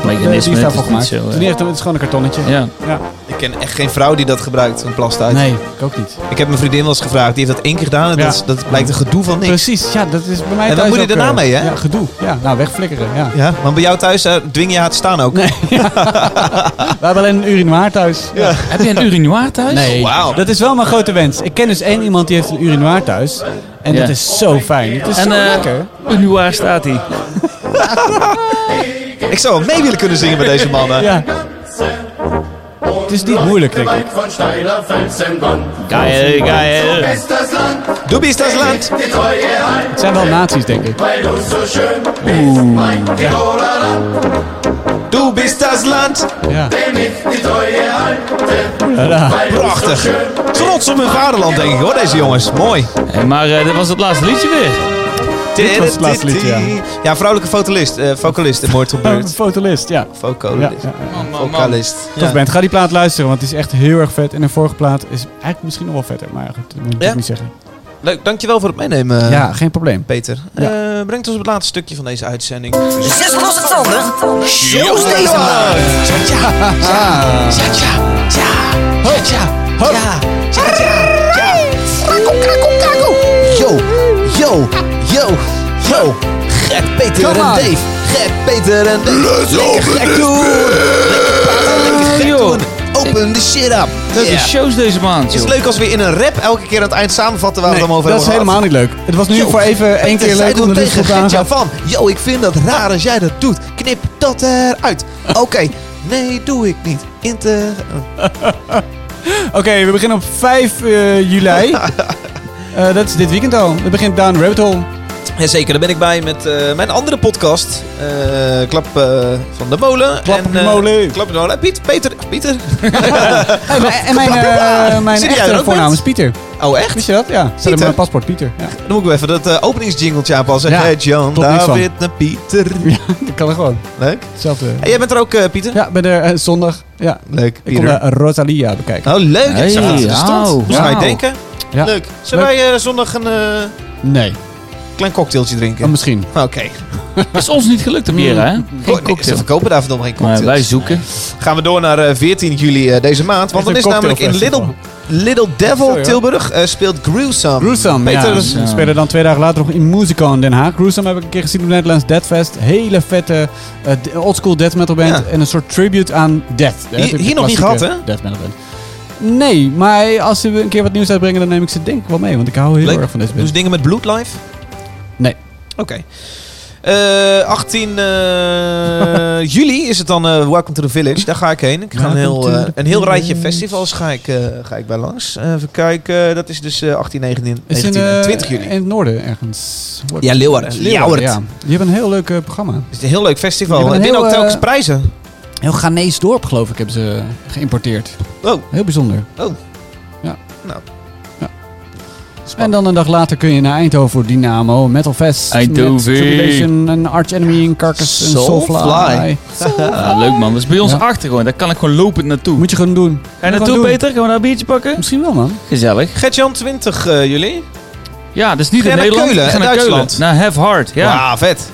Speaker 4: Die is
Speaker 3: Mechanismen, het
Speaker 4: daarvan
Speaker 3: is niet
Speaker 4: gemaakt.
Speaker 3: zo.
Speaker 4: Het
Speaker 3: eh.
Speaker 4: is niet echt een- het is gewoon een kartonnetje.
Speaker 3: Ja.
Speaker 4: Ja.
Speaker 2: Ik ken echt geen vrouw die dat gebruikt, een plastuit.
Speaker 4: Nee, ik ook niet.
Speaker 2: Ik heb mijn vriendin wel eens gevraagd, die heeft dat één keer gedaan en
Speaker 4: Ja.
Speaker 2: dat, is- dat blijkt een gedoe van niks.
Speaker 4: Precies, ja, dat is bij mij
Speaker 2: En wat
Speaker 4: thuis
Speaker 2: moet je
Speaker 4: ook,
Speaker 2: daarna
Speaker 4: eh,
Speaker 2: mee, hè?
Speaker 4: Ja, gedoe. Ja, nou, wegflikkeren, ja.
Speaker 2: Ja, maar bij jou thuis eh, dwing je haar te staan ook.
Speaker 4: We hebben alleen een urinoir thuis. Ja.
Speaker 3: Heb je een urinoir thuis?
Speaker 4: Nee,
Speaker 2: Wauw.
Speaker 4: dat is wel mijn grote wens. Ik ken dus één iemand die heeft een urinoir thuis. En
Speaker 3: Ja.
Speaker 4: dat is zo fijn. Het is
Speaker 3: En
Speaker 4: zo
Speaker 3: eh,
Speaker 4: lekker.
Speaker 3: urinoir staat hij.
Speaker 2: Ik zou wel mee willen kunnen zingen bij deze mannen.
Speaker 4: Ja. Het is niet moeilijk, denk ik.
Speaker 9: Von steiler Felsenwand.
Speaker 3: Geil, geil.
Speaker 9: Ist das Land,
Speaker 2: Doobie is dat land.
Speaker 9: die Treue halt,
Speaker 4: Het zijn wel nazi's, denk ik.
Speaker 9: weil du so schön bist. Mein Tiroler Land,
Speaker 2: Du bist das Land.
Speaker 4: Ja.
Speaker 9: dem ich die Treue halte,
Speaker 4: Ja.
Speaker 9: weil du so
Speaker 2: Prachtig.
Speaker 9: schön
Speaker 2: Trots op hun vaderland, denk ik hoor, deze jongens. Mooi.
Speaker 3: Hey, maar eh, dit was het laatste liedje weer.
Speaker 2: Dit
Speaker 4: was het laatste liedje, ja.
Speaker 2: Ja, vrouwelijke fotolist, eh, vocalist in Mortal
Speaker 4: Een
Speaker 2: Bird.
Speaker 4: fotolist, ja. Ja,
Speaker 2: Vocalist.
Speaker 4: ja.
Speaker 2: Vocalist.
Speaker 4: Tof
Speaker 2: Ja.
Speaker 4: bent. Ga die plaat luisteren, want het is echt heel erg vet. En de vorige plaat is eigenlijk misschien nog wel vetter, maar goed, dat moet ik
Speaker 2: Ja?
Speaker 4: niet zeggen.
Speaker 2: Leuk, dankjewel voor het meenemen,
Speaker 4: Ja, geen probleem.
Speaker 2: Peter. Eh, brengt ons op het laatste stukje van deze uitzending.
Speaker 8: Zes losse tanden. Shows deze maand.
Speaker 2: Yo, yo, yo, yo. Gek Peter en Dave. Gek Peter en Dave. Lekker gek doen. Lekker praten, lekker gek
Speaker 3: Yo.
Speaker 2: doen. Open the shit up.
Speaker 3: Leuke
Speaker 2: Yeah.
Speaker 3: shows deze maand.
Speaker 2: Het
Speaker 3: joh.
Speaker 2: is leuk als we in een rap elke keer aan het eind samenvatten waar we
Speaker 4: Nee,
Speaker 2: het allemaal over
Speaker 4: dat is
Speaker 2: hebben
Speaker 4: helemaal
Speaker 2: gehad.
Speaker 4: niet leuk. Het was nu
Speaker 2: Yo,
Speaker 4: voor even één
Speaker 2: Peter,
Speaker 4: keer
Speaker 2: zij
Speaker 4: leuk om
Speaker 2: doen
Speaker 4: de
Speaker 2: tegen
Speaker 4: lucht aan
Speaker 2: Gertjan van. Yo, ik vind dat raar als jij dat doet. Knip dat eruit. Oké, nee, doe ik niet. Inter...
Speaker 4: Oké, we beginnen op 5 eh, juli. Eh, dat is dit weekend al. Er begint Down Rabbit Hole.
Speaker 2: Ja, zeker, daar ben ik bij met eh, mijn andere podcast. Eh, Klap eh, van de molen.
Speaker 4: Klap
Speaker 2: En,
Speaker 4: op de
Speaker 2: eh,
Speaker 4: molen.
Speaker 2: Klap van de molen. Piet, Peter, Pieter.
Speaker 4: Hey, mijn- en mijn, eh mijn
Speaker 2: Zit jij er
Speaker 4: echte
Speaker 2: ook
Speaker 4: voornaam
Speaker 2: met?
Speaker 4: is Pieter.
Speaker 2: Oh, echt?
Speaker 4: Wist je dat? Ja. Zet
Speaker 2: Pieter?
Speaker 4: op mijn paspoort, Pieter. Ja,
Speaker 2: Dan moet ik wel even dat eh, openingsjingletje aanpassen.
Speaker 4: Ja,
Speaker 2: Hey, John,
Speaker 4: klopt niks van.
Speaker 2: David en Pieter.
Speaker 4: dat kan er gewoon.
Speaker 2: Leuk.
Speaker 4: Hetzelfde.
Speaker 2: En jij bent er ook, eh, Pieter?
Speaker 4: Ja, ik ben er eh, zondag. Ja.
Speaker 2: Leuk,
Speaker 4: Ik kom
Speaker 2: Pieter.
Speaker 4: eh, Rosalia bekijken.
Speaker 2: Oh, leuk.
Speaker 3: Hey,
Speaker 2: ik zag dat in de stad.
Speaker 3: wauw.
Speaker 2: Moest mij
Speaker 3: Wauw.
Speaker 2: denken.
Speaker 4: Ja.
Speaker 2: Leuk. Zullen wij eh, zondag een eh,
Speaker 4: Nee.
Speaker 2: klein cocktailtje drinken?
Speaker 4: Oh, misschien.
Speaker 2: Oké.
Speaker 3: is ons niet gelukt op hier, hè?
Speaker 2: Oh,
Speaker 3: Geen
Speaker 2: nee, Ze
Speaker 3: cocktail.
Speaker 2: verkopen daar verdomme geen
Speaker 3: Maar
Speaker 2: cocktails.
Speaker 3: wij zoeken.
Speaker 2: Gaan we door naar eh, 14 juli eh, deze maand. Want
Speaker 4: Echt
Speaker 2: dan
Speaker 4: een
Speaker 2: is namelijk in Lidl,
Speaker 4: cocktailfestival.
Speaker 2: Little Devil Tilburg eh, speelt Gruesome.
Speaker 4: Gruesome,
Speaker 2: Peter,
Speaker 4: ja.
Speaker 2: dus-
Speaker 4: Ze spelen dan twee dagen later nog in Musical in Den Haag. Gruesome heb ik een keer gezien op Nederlands Deathfest. Hele vette eh, d- oldschool death metal band.
Speaker 2: Ja.
Speaker 4: En een soort tribute aan death. Hè,
Speaker 2: Hier-
Speaker 4: de
Speaker 2: hier nog niet
Speaker 4: klassieke
Speaker 2: gehad, hè?
Speaker 4: Death metal band. Nee, maar als ze een keer wat nieuws uitbrengen, dan neem ik ze denk ik wel mee. Want ik hou heel
Speaker 2: Leuk.
Speaker 4: erg van deze
Speaker 2: Doen
Speaker 4: band.
Speaker 2: ze dingen met bloed live?
Speaker 4: Nee.
Speaker 2: Oké. Eh, 18 eh, juli is het dan eh, Welcome to the Village. Daar ga ik heen. Ik ga een
Speaker 4: Welcome
Speaker 2: heel,
Speaker 4: to
Speaker 2: eh,
Speaker 4: the
Speaker 2: een heel rijtje
Speaker 4: village.
Speaker 2: festivals ga ik, eh, ga ik bij langs. Eh, even kijken. Dat is dus eh, 18, 19,
Speaker 4: Is
Speaker 2: 19 en
Speaker 4: eh,
Speaker 2: 20 juli.
Speaker 4: In het noorden ergens. Wordt-
Speaker 2: Ja, Leeuwarden. Leeuwarden.
Speaker 4: Ja. Die hebben een heel leuk eh, programma.
Speaker 2: Het is een heel leuk festival.
Speaker 4: Je bent
Speaker 2: En
Speaker 4: een
Speaker 2: winnen
Speaker 4: heel,
Speaker 2: ook telkens
Speaker 4: eh,
Speaker 2: prijzen.
Speaker 4: Heel Ghanese dorp, geloof ik, hebben ze geïmporteerd.
Speaker 2: Oh.
Speaker 4: Heel bijzonder.
Speaker 2: Oh.
Speaker 4: Ja.
Speaker 2: Nou.
Speaker 4: Ja. En dan een dag later kun je naar Eindhoven voor Dynamo, Metal Fest,
Speaker 3: Eindhoven.
Speaker 4: met Tribulation en Arch Enemy en Carcass en
Speaker 2: Soulfly.
Speaker 4: Soulfly.
Speaker 3: Ah, leuk man, dat is bij ons
Speaker 4: Ja.
Speaker 3: achter gewoon. Daar kan ik gewoon lopend naartoe.
Speaker 4: Moet je gewoon
Speaker 3: Ga
Speaker 4: doen.
Speaker 3: je
Speaker 4: Moet
Speaker 3: naartoe,
Speaker 4: gewoon doen.
Speaker 3: Peter? Gaan we daar een biertje pakken?
Speaker 4: Misschien wel, man.
Speaker 3: Gezellig.
Speaker 2: Gert-Jan, 20 eh, juli.
Speaker 3: Ja, dat is niet
Speaker 2: Ga je
Speaker 3: in
Speaker 2: naar
Speaker 3: Nederland.
Speaker 2: Keulen,
Speaker 3: Ik ga
Speaker 2: in
Speaker 3: naar
Speaker 2: Duitsland?
Speaker 3: Keulen. Naar Have Hard, ja.
Speaker 2: Wauw, vet.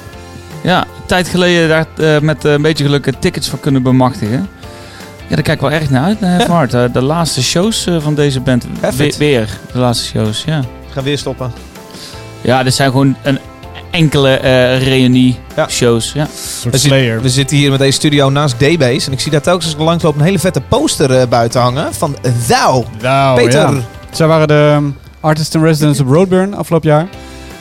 Speaker 3: Ja, een tijd geleden daar eh, met eh, een beetje geluk eh, tickets voor kunnen bemachtigen. Ja, daar kijk ik wel erg naar uit, naar Have Hard. Eh, de laatste shows eh, van deze band.
Speaker 2: Have
Speaker 3: We-
Speaker 2: it.
Speaker 3: weer, de laatste shows, ja.
Speaker 2: Ik ga weer stoppen.
Speaker 3: Ja, dit zijn gewoon een enkele eh
Speaker 2: Ja.
Speaker 3: reunie-shows. Ja.
Speaker 2: We, zit- we zitten hier met deze studio naast D-Base. En ik zie daar telkens als ik langs loop een hele vette poster eh, buiten hangen. Van Thou.
Speaker 4: Nou,
Speaker 2: Peter.
Speaker 4: ja. Zij waren de ehm, Artist in Residence op Roadburn afgelopen jaar.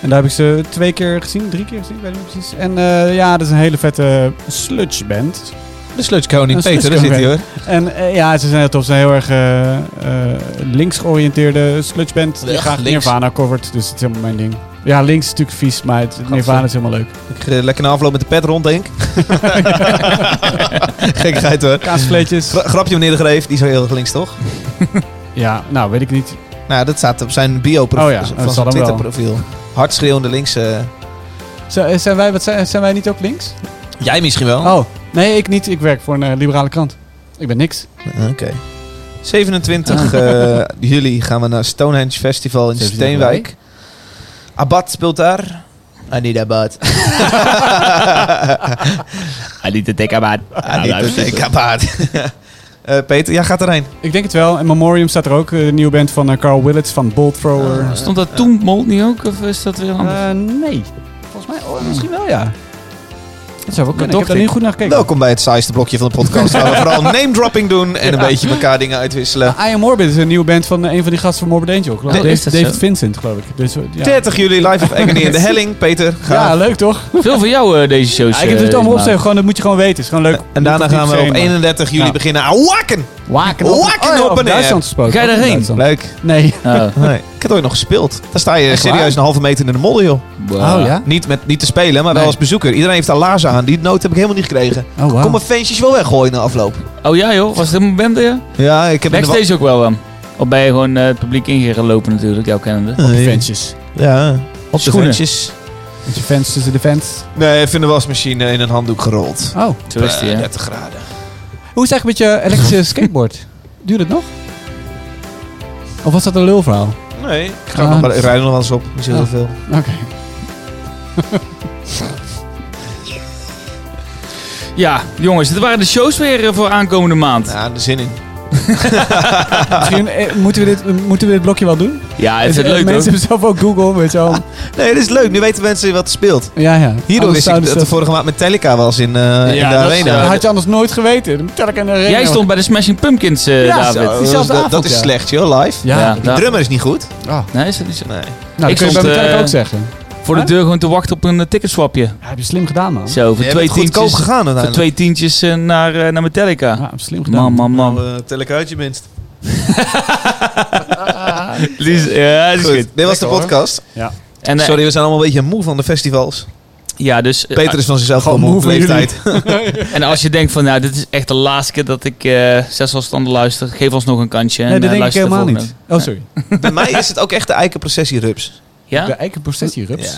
Speaker 4: En daar heb ik ze twee keer gezien, drie keer gezien, ik weet niet precies. En eh, ja, dat is een hele vette sludge band.
Speaker 2: De sludgekoning
Speaker 4: Een
Speaker 2: Peter, daar zit hij
Speaker 4: sludgekoning.
Speaker 2: hoor.
Speaker 4: En eh, ja, ze zijn heel tof. Ze zijn heel erg eh, eh, links georiënteerde sludgeband. Die
Speaker 2: Echt
Speaker 4: graag
Speaker 2: links?
Speaker 4: Nirvana covert, dus het is helemaal mijn ding. Ja, links is natuurlijk vies, maar het, Nirvana is helemaal leuk.
Speaker 2: Ik eh, lekker na afloop met de pet rond, denk ik. Gekkigheid hoor.
Speaker 4: Kaasvleetjes.
Speaker 2: Gra- grapje meneer de Greef, die is wel heel erg links toch?
Speaker 4: ja, nou weet ik niet.
Speaker 2: Nou, dat staat op zijn bio-profiel.
Speaker 4: Oh ja, dat
Speaker 2: van
Speaker 4: zal
Speaker 2: zijn
Speaker 4: hem wel.
Speaker 2: Twitter-profiel. Hard schreeuwende linkse.
Speaker 4: Z- eh, zijn, wij, wat zijn, zijn wij niet ook links?
Speaker 2: Jij misschien wel.
Speaker 4: Oh, nee, ik niet. Ik werk voor een eh, liberale krant. Ik ben niks.
Speaker 2: Ah, Oké. 27
Speaker 4: Ah.
Speaker 2: eh, juli gaan we naar Stonehenge Festival in
Speaker 4: 27
Speaker 2: Steenwijk. Abad speelt daar. I need Ah, Abad.
Speaker 3: I need to take a bath.
Speaker 2: I need to take Ah, Abad. Eh, Peter, jij gaat erheen.
Speaker 4: Ik denk het wel. En Memoriam staat er ook. eh, De nieuwe band van eh, Carl Willits van Bolt Thrower.
Speaker 3: Stond dat toen Mold niet ook? Of is dat weer anders?
Speaker 4: Eh, nee. Volgens mij, oh, misschien wel ja. Dat zou wel kunnen. Ik
Speaker 3: dacht
Speaker 4: heb daar
Speaker 3: ik.
Speaker 4: niet goed naar gekeken.
Speaker 2: Welkom bij het saaiste blokje van de podcast. waar we vooral name-dropping doen en een beetje elkaar dingen uitwisselen.
Speaker 4: I Am Morbid is een nieuwe band van eh, een van die gasten van Morbid Angel. Ik geloof
Speaker 3: Oh,
Speaker 4: Dave-
Speaker 3: is dat
Speaker 4: David
Speaker 3: zo?
Speaker 4: Vincent, geloof ik. Dus, eh, ja.
Speaker 2: 30 juli live of Agony in de Helling. Peter, ga.
Speaker 4: ja, leuk toch?
Speaker 3: Veel van jou eh, deze shows.
Speaker 4: Ja, ik heb het
Speaker 3: eh,
Speaker 4: allemaal
Speaker 3: maar-
Speaker 4: opgeschreven. Gewoon, dat moet je gewoon weten. Het is gewoon leuk.
Speaker 2: en daarna
Speaker 4: Moet er
Speaker 2: gaan we
Speaker 4: diep
Speaker 2: op
Speaker 4: zijn, man.
Speaker 2: 31 juli
Speaker 4: Ja.
Speaker 2: beginnen aan Wakken.
Speaker 4: Waken
Speaker 2: op-
Speaker 4: op,
Speaker 2: Waken
Speaker 4: oh, ja,
Speaker 2: op
Speaker 4: over
Speaker 2: een
Speaker 4: Duitsland
Speaker 2: app.
Speaker 4: gesproken.
Speaker 3: Ga je
Speaker 4: Over
Speaker 3: daarheen?
Speaker 4: Duitsland.
Speaker 2: Leuk.
Speaker 4: Nee.
Speaker 3: Oh,
Speaker 2: Nee, ik heb het ooit nog gespeeld. Daar sta je
Speaker 4: Echt waar?
Speaker 2: serieus een halve meter in de modder, joh.
Speaker 3: wow.
Speaker 2: Niet, met, niet te spelen, maar wel
Speaker 4: Nee.
Speaker 2: als bezoeker. Iedereen heeft daar laarzen aan. Die noot heb ik helemaal niet gekregen.
Speaker 4: Oh,
Speaker 2: Kom
Speaker 4: wow.
Speaker 2: mijn feestjes wel weggooien na afloop.
Speaker 3: Oh ja joh, was het helemaal bende ja?
Speaker 2: Ja, ik heb in de wa-
Speaker 3: Backstage ook wel dan. Of ben je gewoon eh, het publiek ingelopen natuurlijk, jouw kennende.
Speaker 2: Nee.
Speaker 4: Fansjes.
Speaker 2: Ja, op de
Speaker 3: Schoenen.
Speaker 2: ventjes.
Speaker 4: Met je fans tussen de fans.
Speaker 2: Nee, even in de wasmachine in een handdoek gerold.
Speaker 4: Oh.
Speaker 3: Zo is die
Speaker 2: Eh,
Speaker 3: hè.
Speaker 2: 30 graden.
Speaker 4: Hoe is het eigenlijk met je elektrische skateboard? Duurt het nog? Of was dat een lulverhaal?
Speaker 2: Nee, ik, ga
Speaker 4: Ah,
Speaker 2: nog maar,
Speaker 4: dat
Speaker 2: ik
Speaker 4: is-
Speaker 2: rijd er nog wel eens op. Niet zo heel
Speaker 4: Ah.
Speaker 2: veel.
Speaker 4: Oké.
Speaker 3: Ja, jongens, dit waren de shows weer eh, voor aankomende maand.
Speaker 2: Ja, de zin in.
Speaker 4: Misschien, eh, moeten, we dit, moeten we dit blokje wel doen?
Speaker 3: Ja, het is
Speaker 4: Eh,
Speaker 3: leuk
Speaker 4: Mensen
Speaker 3: hoor.
Speaker 4: hebben zelf ook Google, weet je wel.
Speaker 2: Nee, dit is leuk. Nu weten mensen wat er speelt.
Speaker 4: Ja, ja.
Speaker 2: Hierdoor
Speaker 4: Anders
Speaker 2: wist ik
Speaker 4: zouden
Speaker 2: dat
Speaker 4: ze-
Speaker 2: er vorige maand Metallica was in, eh, in de
Speaker 3: dat is,
Speaker 2: arena.
Speaker 3: eh,
Speaker 4: Dat had je anders nooit geweten. Dan vertel ik aan de arena.
Speaker 3: Jij stond bij de Smashing Pumpkins, eh,
Speaker 4: Ja,
Speaker 3: David.
Speaker 4: zo.
Speaker 2: dat,
Speaker 4: diezelfde
Speaker 2: dat-
Speaker 4: avond,
Speaker 2: dat is
Speaker 4: ja.
Speaker 2: slecht, joh, live.
Speaker 4: Ja.
Speaker 3: Ja,
Speaker 4: Nou,
Speaker 2: De
Speaker 3: nou,
Speaker 2: drummer is niet goed.
Speaker 3: nee, is dat niet zo?
Speaker 2: Nee.
Speaker 4: dat
Speaker 3: Ik
Speaker 4: kun je bij
Speaker 3: stond,
Speaker 4: Metallica
Speaker 3: eh,
Speaker 4: ook zeggen.
Speaker 3: Voor de
Speaker 4: Huh?
Speaker 3: deur gewoon te wachten op een eh, ticketswapje.
Speaker 4: Ja, heb je slim gedaan, man.
Speaker 3: Zo, voor
Speaker 2: Jij
Speaker 3: twee
Speaker 2: bent goedkoop
Speaker 3: tientjes,
Speaker 2: gegaan
Speaker 3: voor
Speaker 2: uiteindelijk.
Speaker 3: twee tientjes eh, naar, eh, naar Metallica.
Speaker 4: Ja, heb je slim gedaan.
Speaker 3: Man, man, man.
Speaker 2: Nou, eh, tel ik uit je minst.
Speaker 3: Lies- Ja, dat is goed.
Speaker 2: Goed, dit was de podcast.
Speaker 3: En, eh,
Speaker 2: Sorry, we zijn allemaal een beetje moe van de festivals.
Speaker 3: Ja, dus, eh,
Speaker 2: Peter is van zichzelf gewoon moe van
Speaker 4: moe van
Speaker 2: leeftijd.
Speaker 3: En als je denkt van, nou, dit is echt de laatste keer dat ik eh zes afstanden luister, geef ons nog een kansje. en,
Speaker 4: Nee, dat
Speaker 3: eh,
Speaker 4: denk ik
Speaker 3: luister de
Speaker 4: helemaal
Speaker 3: volgende.
Speaker 4: niet. Oh, sorry.
Speaker 2: Bij mij is het ook echt de eikenprocessierups.
Speaker 4: De
Speaker 3: Ja?
Speaker 4: eikenprocessierups.
Speaker 2: Ja.
Speaker 3: Ze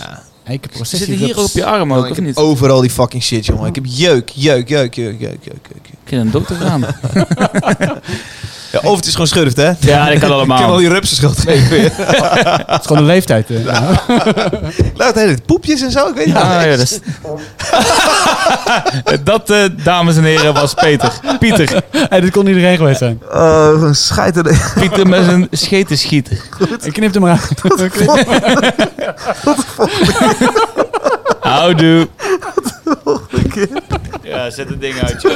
Speaker 4: Eikenprocessierups.
Speaker 3: zitten hier op je arm ook,
Speaker 2: Ik
Speaker 3: of
Speaker 2: heb
Speaker 3: niet?
Speaker 2: overal die fucking shit, jongen. Ik heb jeuk, jeuk, jeuk, jeuk, jeuk, jeuk, jeuk. jeuk.
Speaker 3: Ik heb een dokter aan.
Speaker 2: Ja, of het is gewoon schurft, hè?
Speaker 3: Ja, dat kan
Speaker 2: Ik heb al
Speaker 3: allemaal.
Speaker 2: die rupsen schuld mee.
Speaker 4: Het is gewoon een leeftijd. eh.
Speaker 2: Laat hele tijd poepjes en zo, ik weet niet.
Speaker 3: Ah, ja, dat, is- dat eh, dames en heren, was Peter. Pieter.
Speaker 4: Hey, dit kon iedereen geweest zijn.
Speaker 2: Eh, scheid er-
Speaker 3: Pieter met zijn scheten schieten.
Speaker 4: Ik knip hem maar uit.
Speaker 3: Houdoe. Ja, zet het ding uit, joh.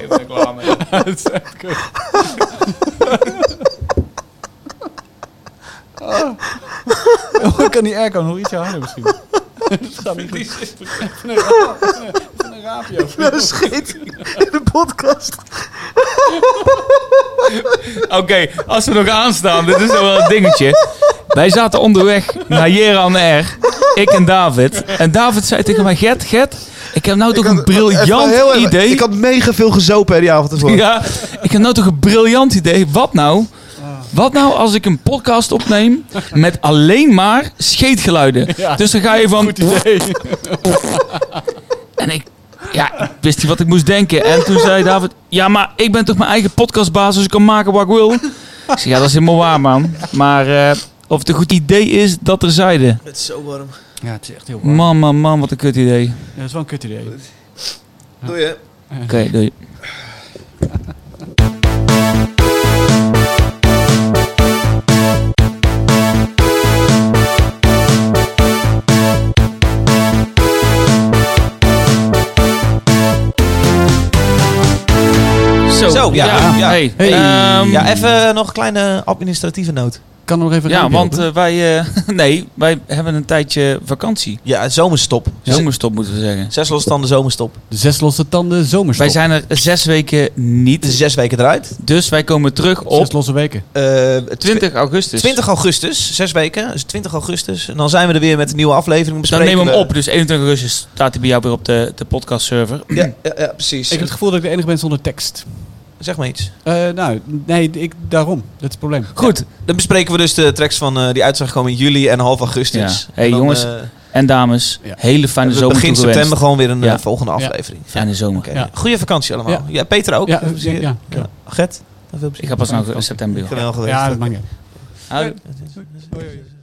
Speaker 3: Even reclame.
Speaker 4: Ik kan die airco nog ietsje harder misschien. Dat gaat niet goed. Even een raap- even een- even een raapje over.
Speaker 2: Een scheet in de podcast.
Speaker 3: Oké, als we nog aanstaan, dit is nog wel een dingetje. Wij zaten onderweg naar Jeran R. Ik en David. En David zei tegen mij, Gert, Gert, ik heb nou toch een briljant idee.
Speaker 2: Ik had mega veel gezopen hè, die avond ervoor.
Speaker 3: Ja, ik heb nou toch een briljant idee. Wat nou?
Speaker 2: Ah.
Speaker 3: Wat nou als ik een podcast opneem met alleen maar scheetgeluiden? dus dan ga je van... En ik, ja, ik wist niet wat ik moest denken. En toen zei David, ja, maar ik ben toch mijn eigen podcastbaas, dus ik kan maken wat ik wil. Ik zeg, ja, dat is helemaal waar, man. Maar eh, of het een goed idee is, dat er zeiden.
Speaker 2: Het is zo warm.
Speaker 4: Ja, het is echt heel warm.
Speaker 3: Man, man, man, wat een kut idee.
Speaker 4: Ja, Dat is wel een kut idee.
Speaker 2: Doe je.
Speaker 3: Oké, doei. Zo,
Speaker 2: Zo, ja, ja.
Speaker 3: Hey,
Speaker 4: Hey.
Speaker 3: ehm,
Speaker 2: Ja, even nog een kleine administratieve noot.
Speaker 4: Kan nog even een
Speaker 3: ja,
Speaker 4: raampje
Speaker 3: want
Speaker 4: open?
Speaker 3: eh, wij, eh, nee, wij hebben een tijdje vakantie.
Speaker 2: Ja, zomerstop.
Speaker 3: Zomerstop moeten we zeggen.
Speaker 2: Zes losstanden zomerstop.
Speaker 4: de zes losse tanden zomerstop.
Speaker 3: eh, Wij zijn er zes weken
Speaker 2: De
Speaker 3: niet.
Speaker 2: zes weken eruit.
Speaker 3: Dus wij komen terug
Speaker 4: Zes
Speaker 3: op
Speaker 4: losse weken.
Speaker 2: Eh, tw-
Speaker 3: 20 augustus.
Speaker 2: 20 augustus, zes weken. Dus 20 augustus. En dan zijn we er weer met een nieuwe aflevering.
Speaker 3: Dan
Speaker 2: Bespreken
Speaker 3: neem hem
Speaker 2: we-
Speaker 3: op. Dus 21 augustus staat hij bij jou weer op de, de podcast server.
Speaker 2: Ja, ja, ja, precies.
Speaker 4: Ik heb het gevoel dat ik de enige ben zonder tekst.
Speaker 2: Zeg maar iets.
Speaker 4: Eh, nou, nee, ik, daarom. Dat is het probleem.
Speaker 3: Goed.
Speaker 2: Dan bespreken we dus de tracks van eh, die uitzag komen in juli en half augustus.
Speaker 3: Ja. Hey,
Speaker 2: En dan,
Speaker 3: jongens,
Speaker 2: eh,
Speaker 3: En dames,
Speaker 4: Ja.
Speaker 3: hele fijne
Speaker 2: hebben we
Speaker 3: zomer
Speaker 2: begin
Speaker 3: toegewenst.
Speaker 2: september gewoon weer een eh,
Speaker 3: Ja.
Speaker 2: volgende
Speaker 4: Ja.
Speaker 2: aflevering.
Speaker 3: Fijne zomer.
Speaker 2: Oké.
Speaker 4: Ja.
Speaker 2: Goede vakantie allemaal. Ja.
Speaker 4: Ja.
Speaker 2: Peter ook.
Speaker 4: Ja,
Speaker 2: Veel
Speaker 4: ja,
Speaker 2: plezier.
Speaker 4: ja.
Speaker 2: Gert, veel
Speaker 3: Ik
Speaker 2: plezier.
Speaker 3: ga pas nou in september. joh.
Speaker 2: Geweldig geweest.
Speaker 4: Ja, dat maakt niet uit.
Speaker 3: Houdoe.
Speaker 4: Hoi, hoi.